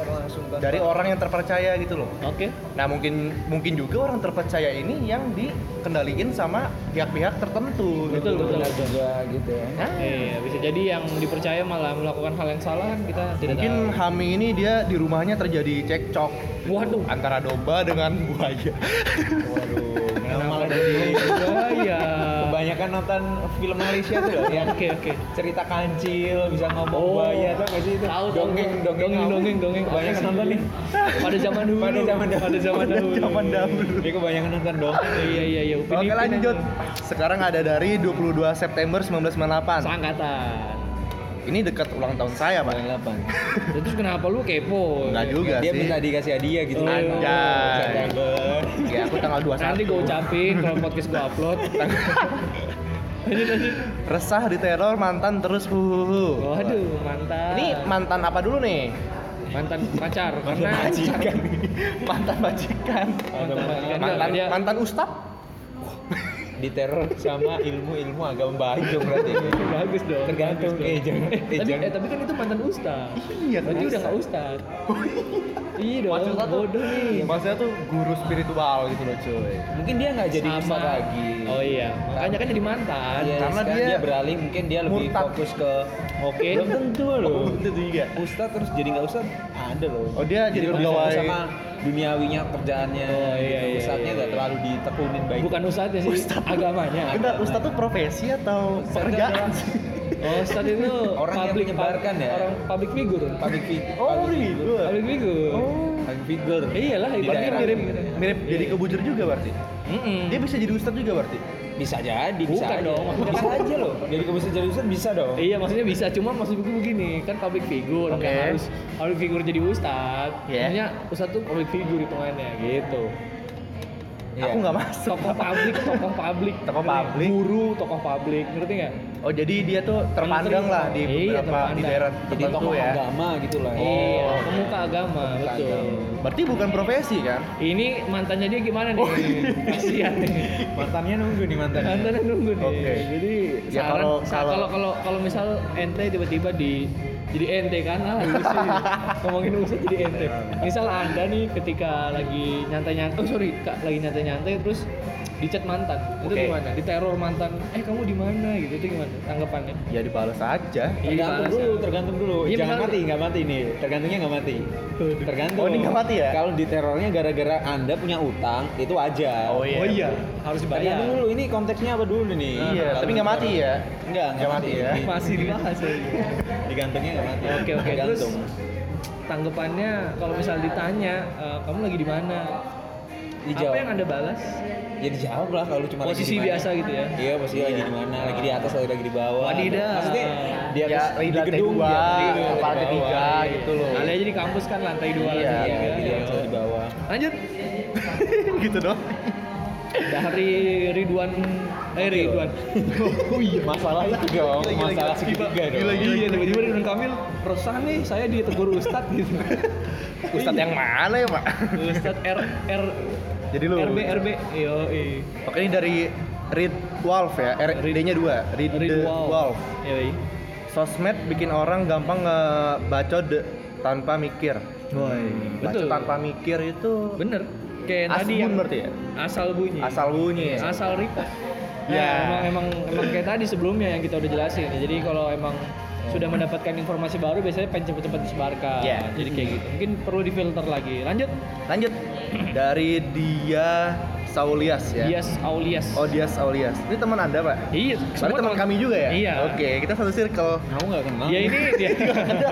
Speaker 3: dari orang yang terpercaya gitu loh
Speaker 1: Oke.
Speaker 3: nah mungkin mungkin juga orang terpercaya ini yang dikendaliin sama pihak-pihak tertentu
Speaker 1: Betul
Speaker 3: gitu
Speaker 1: betul
Speaker 3: loh.
Speaker 1: betul.
Speaker 2: juga gitu ya
Speaker 3: Nah,
Speaker 1: Iya, bisa jadi yang dipercaya malah melakukan hal yang salah kan kita tidak
Speaker 3: mungkin
Speaker 1: tahu.
Speaker 3: Hami ini dia di rumahnya terjadi cekcok
Speaker 1: Waduh.
Speaker 3: antara domba dengan buaya
Speaker 2: waduh kenapa malah jadi
Speaker 1: Bahaya.
Speaker 2: kebanyakan nonton film Malaysia tuh loh yang
Speaker 1: Oke oke.
Speaker 2: cerita kancil bisa ngomong
Speaker 1: Oh.
Speaker 2: buaya tau gak sih itu
Speaker 1: Tahu, tahu.
Speaker 2: dongeng dongeng
Speaker 1: Dongeng,
Speaker 2: apa?
Speaker 1: dongeng, dongeng.
Speaker 2: kebanyakan nonton nih
Speaker 1: Pada zaman dulu.
Speaker 2: Pada zaman dahulu.
Speaker 1: Pada zaman
Speaker 3: Pada
Speaker 1: dahulu.
Speaker 3: zaman dahulu.
Speaker 2: dia Ya, kebanyakan nonton dongeng
Speaker 1: Iya iya iya. Upin
Speaker 3: Oke
Speaker 1: Ipin
Speaker 3: lanjut.
Speaker 1: yang-
Speaker 3: Sekarang ada dari 22 September 1998.
Speaker 1: Seangkatan.
Speaker 3: Ini dekat ulang tahun saya, Pak.
Speaker 2: 98
Speaker 1: Nah, Terus kenapa lu kepo?
Speaker 3: Enggak juga
Speaker 2: dia
Speaker 3: sih.
Speaker 2: minta dikasih hadiah gitu
Speaker 1: Oh.
Speaker 3: Anjay.
Speaker 2: September
Speaker 3: Ya, aku tanggal 21.
Speaker 1: Nanti gue ucapin kalau podcast gue upload. lanjut lanjut.
Speaker 3: Resah diteror mantan terus huhuhu.
Speaker 1: Waduh, mantan.
Speaker 3: Ini mantan apa dulu nih?
Speaker 1: mantan pacar karena
Speaker 2: Mantan majikan.
Speaker 3: mantan
Speaker 1: mantan ya.
Speaker 3: majikan. Iya,
Speaker 1: majikan
Speaker 3: Mantan
Speaker 1: mantan dia
Speaker 3: mantan ustad?
Speaker 2: diteror sama ilmu-ilmu agama baik dong berarti
Speaker 1: bagus dong
Speaker 2: tergantung
Speaker 1: bagus dong.
Speaker 2: eh jangan eh
Speaker 1: tapi, eh,
Speaker 2: jangan
Speaker 1: tapi kan itu mantan ustad
Speaker 3: Iya,
Speaker 1: berarti
Speaker 3: kan
Speaker 1: udah nggak ustad
Speaker 2: Oh,
Speaker 1: iya dong bodoh
Speaker 2: iya,
Speaker 1: nih
Speaker 3: maksudnya Hmm, tuh guru spiritual gitu loh, cuy.
Speaker 2: mungkin dia nggak jadi
Speaker 1: Sama.
Speaker 2: ustaz lagi
Speaker 1: oh iya makanya kan jadi mantan
Speaker 2: Iya,
Speaker 3: Karena
Speaker 2: sekarang
Speaker 3: dia
Speaker 2: dia, beralih mungkin dia lebih
Speaker 3: murtad.
Speaker 2: fokus ke
Speaker 1: oke
Speaker 2: belum tentu loh
Speaker 3: Oh, Itu juga.
Speaker 2: ustaz terus jadi nggak ustaz ada loh
Speaker 3: Oh, dia jadi
Speaker 2: fokus
Speaker 3: pegawai.
Speaker 2: sama duniawinya kerjaannya
Speaker 1: Oh, iya,
Speaker 2: gitu.
Speaker 1: iya,
Speaker 2: ustaznya
Speaker 1: iya,
Speaker 2: nggak
Speaker 1: iya.
Speaker 2: terlalu ditekunin baik
Speaker 1: bukan ustadnya ya sih agamanya
Speaker 3: Entar ustad tuh profesi atau
Speaker 2: Ustaz
Speaker 3: pekerjaan?
Speaker 2: adalah-
Speaker 1: Oh, stan itu
Speaker 2: Orang yang menyebarkan ya?
Speaker 1: Orang public figure.
Speaker 2: public Oh. fi-
Speaker 3: Oh, gitu.
Speaker 1: Public figure.
Speaker 2: public figure
Speaker 1: Iyalah,
Speaker 2: Di
Speaker 1: ibaratnya
Speaker 2: daerah.
Speaker 1: mirip
Speaker 3: Mirip jadi kebujur juga berarti.
Speaker 1: Mm-mm.
Speaker 3: Dia bisa jadi ustadz juga berarti.
Speaker 2: bisa jadi bisa
Speaker 1: Bukan
Speaker 2: aja.
Speaker 1: dong, maksudnya
Speaker 2: bisa
Speaker 1: kan-
Speaker 2: aja loh jadi kebiasaan jadi ustad bisa dong
Speaker 1: Iya maksudnya bisa, cuma maksud gue begini kan public figure,
Speaker 3: Oke.
Speaker 1: nggak harus public figure jadi ustad.
Speaker 3: Iya.
Speaker 1: Maksudnya ustad tuh public figure hitungannya gitu.
Speaker 2: Iya.
Speaker 3: Aku nggak masuk.
Speaker 1: Tokoh publik, tokoh publik,
Speaker 3: Tokoh
Speaker 1: Ngerti nggak?
Speaker 3: publik.
Speaker 1: Iya. guru, tokoh publik, ngerti nggak?
Speaker 3: Oh jadi dia tuh terpandang
Speaker 1: Menteri.
Speaker 3: lah di
Speaker 1: Iya,
Speaker 3: beberapa di
Speaker 1: terpandang.
Speaker 3: daerah
Speaker 2: jadi
Speaker 3: tertentu
Speaker 2: tokoh
Speaker 3: ya.
Speaker 2: agama gitu lah
Speaker 1: Iya, pemuka agama,
Speaker 2: Pemuka
Speaker 1: betul.
Speaker 2: agama.
Speaker 3: Berarti bukan profesi kan?
Speaker 1: Ini mantannya dia gimana
Speaker 3: Oh,
Speaker 1: nih?
Speaker 3: iya.
Speaker 1: Kasihan nih.
Speaker 2: mantannya nunggu nih mantannya
Speaker 1: Mantannya nunggu nih.
Speaker 3: Oke.
Speaker 1: Jadi
Speaker 3: Ya,
Speaker 1: saran-
Speaker 3: kalau-
Speaker 1: sa-
Speaker 3: kalau-
Speaker 1: kalau kalau kalau misal ente tiba-tiba di jadi ente kan ah lu sih ngomongin usut jadi ente. Misal Anda nih ketika lagi nyantai-nyantai, oh sorry, Kak, lagi nyantai-nyantai terus dicat mantan. Itu
Speaker 3: Oke.
Speaker 1: gimana? Diteror mantan. Eh, kamu di mana gitu. Itu gimana tanggapannya?
Speaker 3: Ya dibales aja.
Speaker 2: tergantung
Speaker 1: Iya,
Speaker 2: dulu
Speaker 1: balas.
Speaker 2: tergantung dulu
Speaker 1: Iya,
Speaker 2: jangan
Speaker 1: misalnya-
Speaker 2: mati nggak mati nih tergantungnya nggak mati tergantung
Speaker 3: Oh, ini nggak mati ya?
Speaker 2: kalau diterornya gara-gara anda punya utang itu wajar
Speaker 3: Oh, iya.
Speaker 1: harus dibayar.
Speaker 2: tergantung dulu ini konteksnya apa dulu nih
Speaker 3: Iya,
Speaker 2: Kalau
Speaker 3: tapi nggak mati ya.
Speaker 2: nggak nggak
Speaker 3: Nggak
Speaker 2: mati
Speaker 3: mati
Speaker 2: ya
Speaker 3: ya.
Speaker 1: Masih dibahas ya.
Speaker 2: digantungnya nggak mati
Speaker 1: Oke, oke. Terus
Speaker 2: tergantung
Speaker 1: tanggapannya kalau misal ditanya, "Eh, kamu lagi di mana?
Speaker 2: dijawab
Speaker 1: Apa yang Anda balas?
Speaker 2: ya dijawab lah kalau cuma lagi
Speaker 1: Posisi
Speaker 2: di mana.
Speaker 1: biasa gitu ya.
Speaker 2: Iya, posisi lagi di mana? Lagi di atas atau lagi di bawah?
Speaker 1: Wadidah.
Speaker 2: Maksudnya di atas
Speaker 3: Ya,
Speaker 2: di
Speaker 3: lantai
Speaker 2: gedung,
Speaker 3: dua,
Speaker 2: di atas gedung,
Speaker 3: kepala
Speaker 2: di bawah.
Speaker 3: ketiga gitu loh.
Speaker 1: Kali aja di kampus kan lantai dua
Speaker 3: Iya,
Speaker 1: lantai
Speaker 2: Iya,
Speaker 1: tiga.
Speaker 2: di atas atau di bawah.
Speaker 1: Lanjut
Speaker 3: gitu dong.
Speaker 1: dari Ridwan eh Ridwan.
Speaker 2: Oh iya, masalah itu dong, masalah segitiga dong.
Speaker 1: Iya tiba-tiba Ridwan Kamil resah nih saya ditegur Ustadz gitu.
Speaker 3: Ustadz yang mana ya, Pak?
Speaker 1: Ustadz R R
Speaker 3: Jadi lu.
Speaker 1: RB RB yo i
Speaker 3: Oke ini dari Reed Wolf ya. R-
Speaker 1: Reed-
Speaker 3: D-nya dua. Reed, the Wolf.
Speaker 1: Yoi.
Speaker 3: Sosmed bikin orang gampang ngebacot de- tanpa mikir. Hmm, Baca
Speaker 1: Betul.
Speaker 3: tanpa mikir itu
Speaker 1: Bener. Kayak tadi
Speaker 3: asbun
Speaker 1: yang Iya.
Speaker 3: berarti ya?
Speaker 1: asal bunyi.
Speaker 3: Asal bunyi. ya?
Speaker 1: asal request.
Speaker 3: Ya.
Speaker 1: Nah, emang, emang emang kayak tadi sebelumnya yang kita udah jelasin. ya. Jadi kalau emang sudah mendapatkan informasi baru biasanya pengen cepet-cepet disebarkan.
Speaker 3: Ya.
Speaker 1: Jadi kayak gitu. Mungkin perlu difilter lagi. Lanjut.
Speaker 3: Lanjut dari dia Saulias ya.
Speaker 1: Dias Aulias.
Speaker 3: Oh Dias Aulias. Ini teman Anda pak?
Speaker 1: Iya,
Speaker 3: Soalnya teman kami juga ya?
Speaker 1: Iya.
Speaker 3: Oke, kita satu circle.
Speaker 2: Kamu nggak kenal?
Speaker 1: Ya ini dia.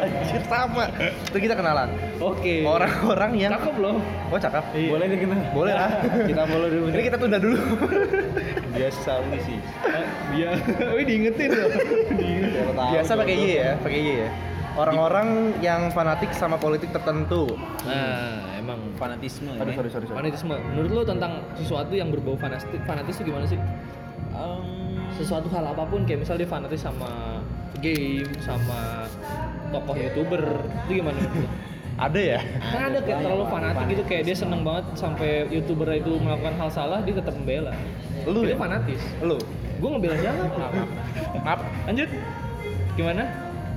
Speaker 3: Anjir sama. Terus kita kenalan.
Speaker 1: Oke.
Speaker 3: Orang-orang yang
Speaker 1: Cakep loh.
Speaker 3: Oh cakep.
Speaker 1: Iya.
Speaker 2: Boleh dikenal.
Speaker 3: Boleh lah.
Speaker 2: Kita follow dulu.
Speaker 3: Ini kita tunda dulu.
Speaker 2: biasa ini sih.
Speaker 1: Iya. Wih diingetin loh.
Speaker 2: Siapa tahu
Speaker 3: Biasa
Speaker 2: jodoh.
Speaker 3: pakai Y ya, pakai Y ya. Orang-orang yang fanatik sama politik tertentu.
Speaker 1: Nah, emang
Speaker 2: Fanatisme.
Speaker 3: Aduh,
Speaker 2: ini.
Speaker 3: sorry, sorry, sorry.
Speaker 1: fanatisme. Menurut lo tentang sesuatu yang berbau fanatis, fanatis itu gimana sih?
Speaker 2: Em,
Speaker 1: sesuatu hal apapun kayak misal dia fanatis sama game sama tokoh youtuber itu gimana menurut lu?
Speaker 3: Ada ya?
Speaker 1: kan ada kayak terlalu fanatik gitu kayak dia seneng banget sampai youtuber itu melakukan hal salah dia tetap membela
Speaker 3: Lu
Speaker 1: itu
Speaker 3: ya?
Speaker 1: fanatis
Speaker 3: Lu.
Speaker 1: gue ngebela jangan
Speaker 3: Maaf.
Speaker 1: lanjut gimana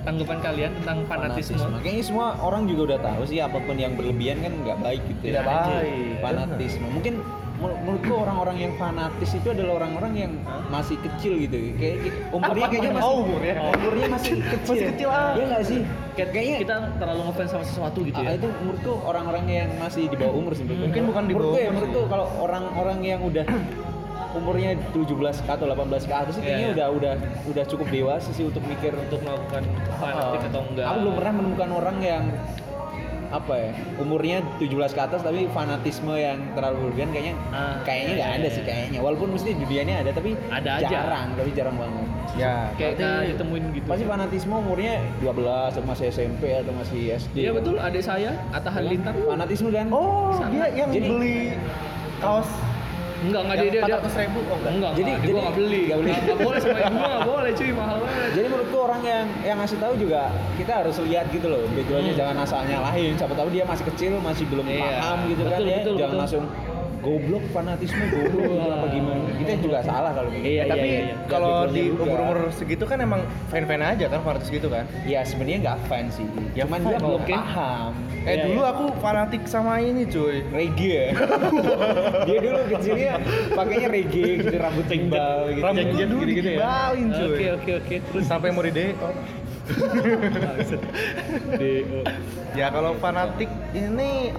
Speaker 1: tanggapan kalian tentang fanatisme,
Speaker 2: fanatisme. Kayaknya semua orang juga udah tahu sih apapun yang berlebihan kan nggak baik gitu. ya.
Speaker 3: Tidak baik.
Speaker 2: Fanatisme. Mungkin menur- menurutku orang-orang yang fanatis itu adalah orang-orang yang masih kecil gitu. Kayak umurnya kayaknya masih
Speaker 3: Oh, umurnya.
Speaker 2: umurnya masih kecil.
Speaker 3: Masih kecil, ah.
Speaker 2: Iya nggak sih? Kayak- Kayaknya
Speaker 1: kita terlalu ngefans sama sesuatu gitu
Speaker 2: Ah,
Speaker 1: ya
Speaker 2: itu menurutku orang-orang yang masih di bawah umur sih.
Speaker 3: Mungkin bukan di
Speaker 2: Menurutku
Speaker 3: bawah
Speaker 2: ya,
Speaker 3: umur
Speaker 2: menurutku
Speaker 3: sih.
Speaker 2: kalau orang-orang yang udah umurnya 17 atau 18 ke atas
Speaker 1: Iya,
Speaker 2: sih kayaknya
Speaker 1: iya.
Speaker 2: udah udah udah cukup dewasa sih untuk mikir
Speaker 1: untuk melakukan fanatik atau enggak
Speaker 2: Ah, Aku belum pernah menemukan orang yang apa ya umurnya 17 ke atas tapi fanatisme yang terlalu berlebihan kayaknya
Speaker 1: Ah,
Speaker 2: kayaknya
Speaker 1: iya,
Speaker 2: nggak
Speaker 1: iya,
Speaker 2: ada
Speaker 1: iya.
Speaker 2: sih kayaknya walaupun mesti di dunianya ada tapi
Speaker 1: Ada aja. Gitu.
Speaker 2: jarang tapi jarang banget
Speaker 3: Ya.
Speaker 1: kayak kita
Speaker 2: Berarti-
Speaker 1: ditemuin gitu
Speaker 2: pasti fanatisme umurnya 12 atau masih SMP atau masih SD
Speaker 1: iya betul adik saya Atta Halilintar
Speaker 2: fanatisme kan
Speaker 3: Oh,
Speaker 1: Sama.
Speaker 3: dia yang
Speaker 2: Jadi-
Speaker 3: beli kaos
Speaker 1: Enggak, enggak dia dia dia.
Speaker 3: 400 ribu oh enggak.
Speaker 1: Enggak,
Speaker 2: Jadi-
Speaker 1: jadi, enggak,
Speaker 2: jadi-
Speaker 1: gue gak beli.
Speaker 2: nggak
Speaker 1: Gak
Speaker 2: beli.
Speaker 1: boleh sama ibu mah, nggak boleh cuy, mahal banget.
Speaker 2: Jadi menurutku orang yang yang ngasih tahu juga kita harus lihat gitu loh backgroundnya
Speaker 1: Hmm.
Speaker 2: jangan asal nyalahin. Siapa tahu dia masih kecil masih belum
Speaker 1: Iya.
Speaker 2: paham gitu kan
Speaker 1: Betul,
Speaker 2: ya.
Speaker 1: betul,
Speaker 2: jangan
Speaker 1: betul.
Speaker 2: langsung goblok fanatisme goblok gitu apa gimana. Kita juga salah kalau gitu. Eh, begitu.
Speaker 1: Iya,
Speaker 3: tapi
Speaker 1: iya, iya.
Speaker 2: Lihat
Speaker 3: kalau di
Speaker 2: backgroundnya juga.
Speaker 3: umur-umur segitu kan emang fan-fan aja kan fanatis gitu kan.
Speaker 2: Ya sebenarnya nggak fans sih.
Speaker 3: Ya,
Speaker 2: Cuman
Speaker 3: fan
Speaker 2: dia belum
Speaker 1: mungkin.
Speaker 2: paham.
Speaker 3: Eh
Speaker 1: Iya,
Speaker 3: dulu
Speaker 1: iya.
Speaker 3: aku fanatik sama ini cuy.
Speaker 2: Reggae. ya. dia dulu kecilnya pakainya reggae gitu rambut timbal gitu.
Speaker 3: Rambutnya dulu
Speaker 1: Gitu-gitu ya?
Speaker 3: digibalin cuy.
Speaker 1: Oke, oke, oke. Terus
Speaker 3: Sampai mau di E DO.
Speaker 1: DO.
Speaker 3: Ya kalau fanatik ini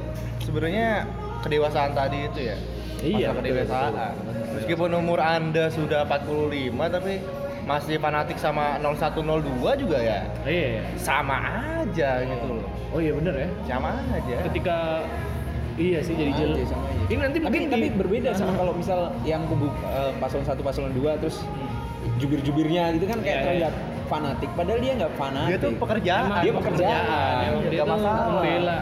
Speaker 3: sebenarnya kedewasaan tadi itu ya.
Speaker 1: Iya,
Speaker 3: Masalah
Speaker 1: betul,
Speaker 3: kedewasaan.
Speaker 1: betul, betul.
Speaker 3: Meskipun umur Anda sudah 45 tapi masih fanatik sama 0102 juga ya
Speaker 1: Oh, iya, iya.
Speaker 3: sama aja gitu loh
Speaker 1: Oh iya bener ya.
Speaker 3: sama aja
Speaker 1: Ketika iya sih jadi
Speaker 2: Sama
Speaker 1: jelas.
Speaker 2: aja, sama aja.
Speaker 1: Ini nanti
Speaker 2: tapi
Speaker 1: mungkin
Speaker 2: tapi
Speaker 1: di-
Speaker 2: berbeda sama
Speaker 1: Ah.
Speaker 2: kalau misal yang kubu eh, paslon satu paslon dua terus jubir-jubirnya gitu kan kayak
Speaker 1: Iya,
Speaker 2: terlihat fanatik padahal dia nggak fanatik
Speaker 3: dia tuh pekerjaan
Speaker 1: Emang
Speaker 2: dia pekerjaan.
Speaker 1: Emang Ya, dia
Speaker 3: Gak
Speaker 1: tuh
Speaker 3: masalah.
Speaker 1: membela.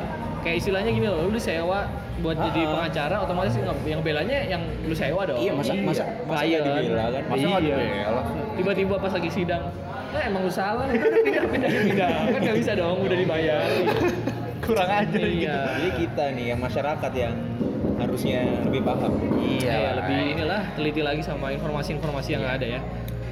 Speaker 1: Kayak istilahnya gini loh, lu disewa buat jadi
Speaker 2: Ah, ah.
Speaker 1: pengacara otomatis nge- yang belanya yang lu sewa dong.
Speaker 2: iya masa masa masa nggak
Speaker 1: Klien.
Speaker 2: dibela kan
Speaker 3: masa nggak
Speaker 1: Iya.
Speaker 3: dibela
Speaker 1: Tiba-tiba pas lagi sidang, eh emang lu salah, nih. pindah pindah pindah. Kan nggak bisa dong, udah dibayar.
Speaker 3: kurang aja
Speaker 1: Iya.
Speaker 3: gitu
Speaker 2: jadi kita nih yang masyarakat yang harusnya lebih paham
Speaker 3: iya
Speaker 1: Iya,
Speaker 3: lah.
Speaker 1: lebih inilah teliti lagi sama informasi-informasi yang ada ya.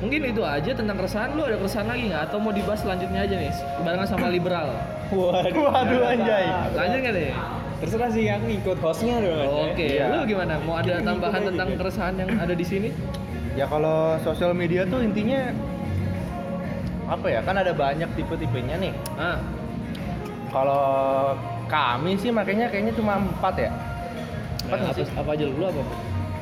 Speaker 1: Mungkin itu aja tentang keresahan lu ada keresahan lagi nggak? Atau mau dibahas selanjutnya aja nih barengan sama liberal?
Speaker 2: waduh
Speaker 3: waduh anjay
Speaker 1: Lanjut nggak nih?
Speaker 2: terserah sih yang ikut hostnya dong
Speaker 1: Oke,
Speaker 3: Iya.
Speaker 1: lu gimana? Mau ada
Speaker 2: Kita
Speaker 1: tambahan
Speaker 2: ngikut aja
Speaker 1: tentang
Speaker 2: kan?
Speaker 1: keresahan yang ada di sini?
Speaker 3: ya kalau sosial media tuh intinya apa ya kan ada banyak tipe-tipenya nih
Speaker 1: Ah,
Speaker 3: kalau kami sih makanya kayaknya cuma empat ya
Speaker 1: apa,
Speaker 3: nggak
Speaker 1: apa, apa aja lu? Lu apa?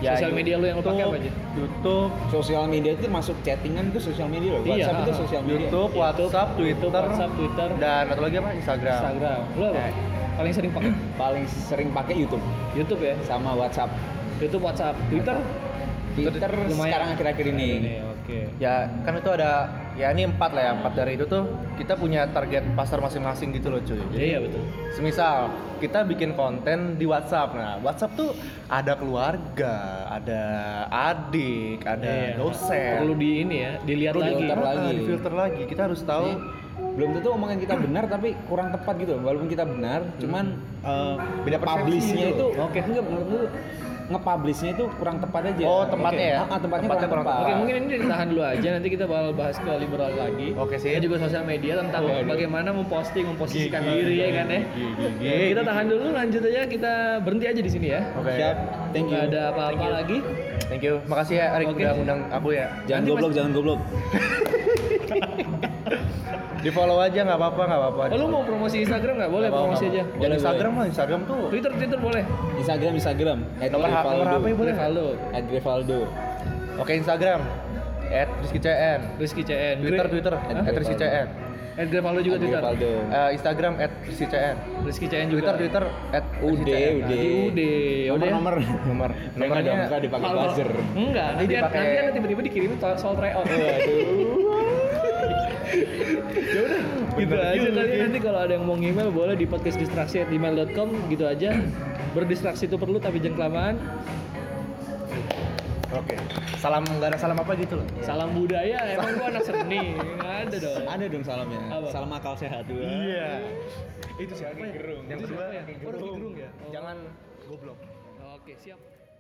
Speaker 3: Ya,
Speaker 1: Sosial media lu yang lu pakai apa aja?
Speaker 3: YouTube, YouTube
Speaker 2: sosial media itu masuk chattingan itu sosial media loh
Speaker 1: Iya,
Speaker 2: WhatsApp itu
Speaker 1: ah,
Speaker 2: sosial media
Speaker 3: YouTube, WhatsApp, Twitter,
Speaker 1: YouTube, WhatsApp, Twitter,
Speaker 3: dan atau lagi apa Instagram.
Speaker 1: Instagram. Lu apa?
Speaker 3: Eh.
Speaker 1: Paling sering pakai
Speaker 2: paling sering pakai YouTube
Speaker 1: YouTube ya?
Speaker 2: sama WhatsApp
Speaker 1: YouTube, WhatsApp, Twitter.
Speaker 2: Twitter
Speaker 1: Lumayan.
Speaker 2: sekarang akhir-akhir ini
Speaker 1: Ini, Oke.
Speaker 3: Ya kan itu ada ya ini empat lah ya empat dari itu tuh kita punya target pasar masing-masing gitu loh cuy. Jadi
Speaker 1: Iya betul.
Speaker 3: semisal kita bikin konten di WhatsApp, nah WhatsApp tuh ada keluarga, ada adik, ada
Speaker 1: Iya.
Speaker 3: dosen.
Speaker 1: Perlu di ini ya, dilihat
Speaker 2: Perlu
Speaker 1: lagi.
Speaker 2: filter
Speaker 3: Ah,
Speaker 2: lagi.
Speaker 3: di filter lagi. Kita harus tahu.
Speaker 2: Jadi, belum tentu omongan kita benar tapi kurang tepat gitu loh. walaupun kita benar
Speaker 1: Hmm.
Speaker 2: cuman eh,
Speaker 3: Beda persepsi
Speaker 2: publishnya
Speaker 3: gitu
Speaker 2: itu
Speaker 1: loh. Oke.
Speaker 2: enggak menurut lu nge-publishnya itu kurang tepat aja
Speaker 3: Oh, tempatnya
Speaker 2: Oke.
Speaker 3: ya?
Speaker 2: Ah, ah, tempatnya,
Speaker 3: Tempatnya
Speaker 2: kurang,
Speaker 3: kurang
Speaker 2: tepat,
Speaker 1: Oke, mungkin ini ditahan dulu aja. Nanti kita bakal bahas ke liberal lagi.
Speaker 3: Oke, sip. Oh, iya.
Speaker 1: Dan juga sosial media tentang
Speaker 2: Waduh.
Speaker 1: bagaimana memposting, memposisikan
Speaker 3: Gigi.
Speaker 1: diri ya kan ya.
Speaker 3: gigi.
Speaker 1: Kita tahan dulu, lanjut aja kita berhenti aja di sini ya.
Speaker 3: Oke.
Speaker 2: siap thank you
Speaker 1: Nggak ada apa-apa lagi.
Speaker 3: Thank you. Makasih ya Erik
Speaker 1: Oke.
Speaker 3: udah ngundang aku ya.
Speaker 2: jangan
Speaker 1: Nanti
Speaker 2: goblok
Speaker 1: mas-
Speaker 2: jangan goblok
Speaker 3: Di follow aja nggak apa-apa nggak apa-apa.
Speaker 1: Oh, lu mau promosi Instagram nggak? Boleh
Speaker 3: Nggak apa-apa,
Speaker 1: promosi aja.
Speaker 3: nggak apa-apa.
Speaker 2: Boleh,
Speaker 3: Dan Instagram lah Instagram tuh.
Speaker 1: Twitter, Twitter boleh.
Speaker 2: Instagram Instagram
Speaker 3: Nomor, H- nomor HP Iya, boleh.
Speaker 1: Boleh
Speaker 3: nggak?
Speaker 1: halo.
Speaker 2: at Rivaldo
Speaker 3: Oke Instagram at Rizky CN.
Speaker 1: Rizky CN.
Speaker 3: Twitter
Speaker 1: Gre-
Speaker 3: Twitter
Speaker 1: Hah?
Speaker 3: at Rizky CN.
Speaker 1: At Grevalo juga
Speaker 2: At
Speaker 1: Twitter.
Speaker 2: Rivaldo
Speaker 3: Eh, Instagram at Rizky CN.
Speaker 1: Rizky CN juga.
Speaker 3: Twitter Twitter ya? at
Speaker 2: UD
Speaker 3: RCCN.
Speaker 2: UD
Speaker 1: Tadi UD. Udah
Speaker 2: nomor
Speaker 1: ya.
Speaker 2: nomor
Speaker 3: Nomor
Speaker 2: nomor
Speaker 3: nomornya.
Speaker 2: ada dipakai
Speaker 1: Kalau-
Speaker 2: buzzer
Speaker 1: Enggak,
Speaker 3: Nanti
Speaker 1: nanti,
Speaker 3: dipakai-
Speaker 1: nanti ada tiba-tiba dikirimin to- soal tryout.
Speaker 2: Iya, Waduh.
Speaker 1: gitu aja tadi nanti kalau ada yang mau email boleh di podcastdistraksi@gmail.com gitu aja berdistraksi itu perlu tapi jangan kelamaan
Speaker 3: Oke. Salam nggak ada salam apa gitu loh.
Speaker 1: salam budaya emang gua anak seni nggak ada dong
Speaker 2: ada dong salamnya
Speaker 1: Apa?
Speaker 2: salam akal sehat
Speaker 3: Iya. Itu siapa ya? Yang
Speaker 1: Itu
Speaker 3: kedua
Speaker 1: siapa ya? Oh, Rocky Gerung ya? Oh.
Speaker 3: Jangan goblok.
Speaker 1: oke siap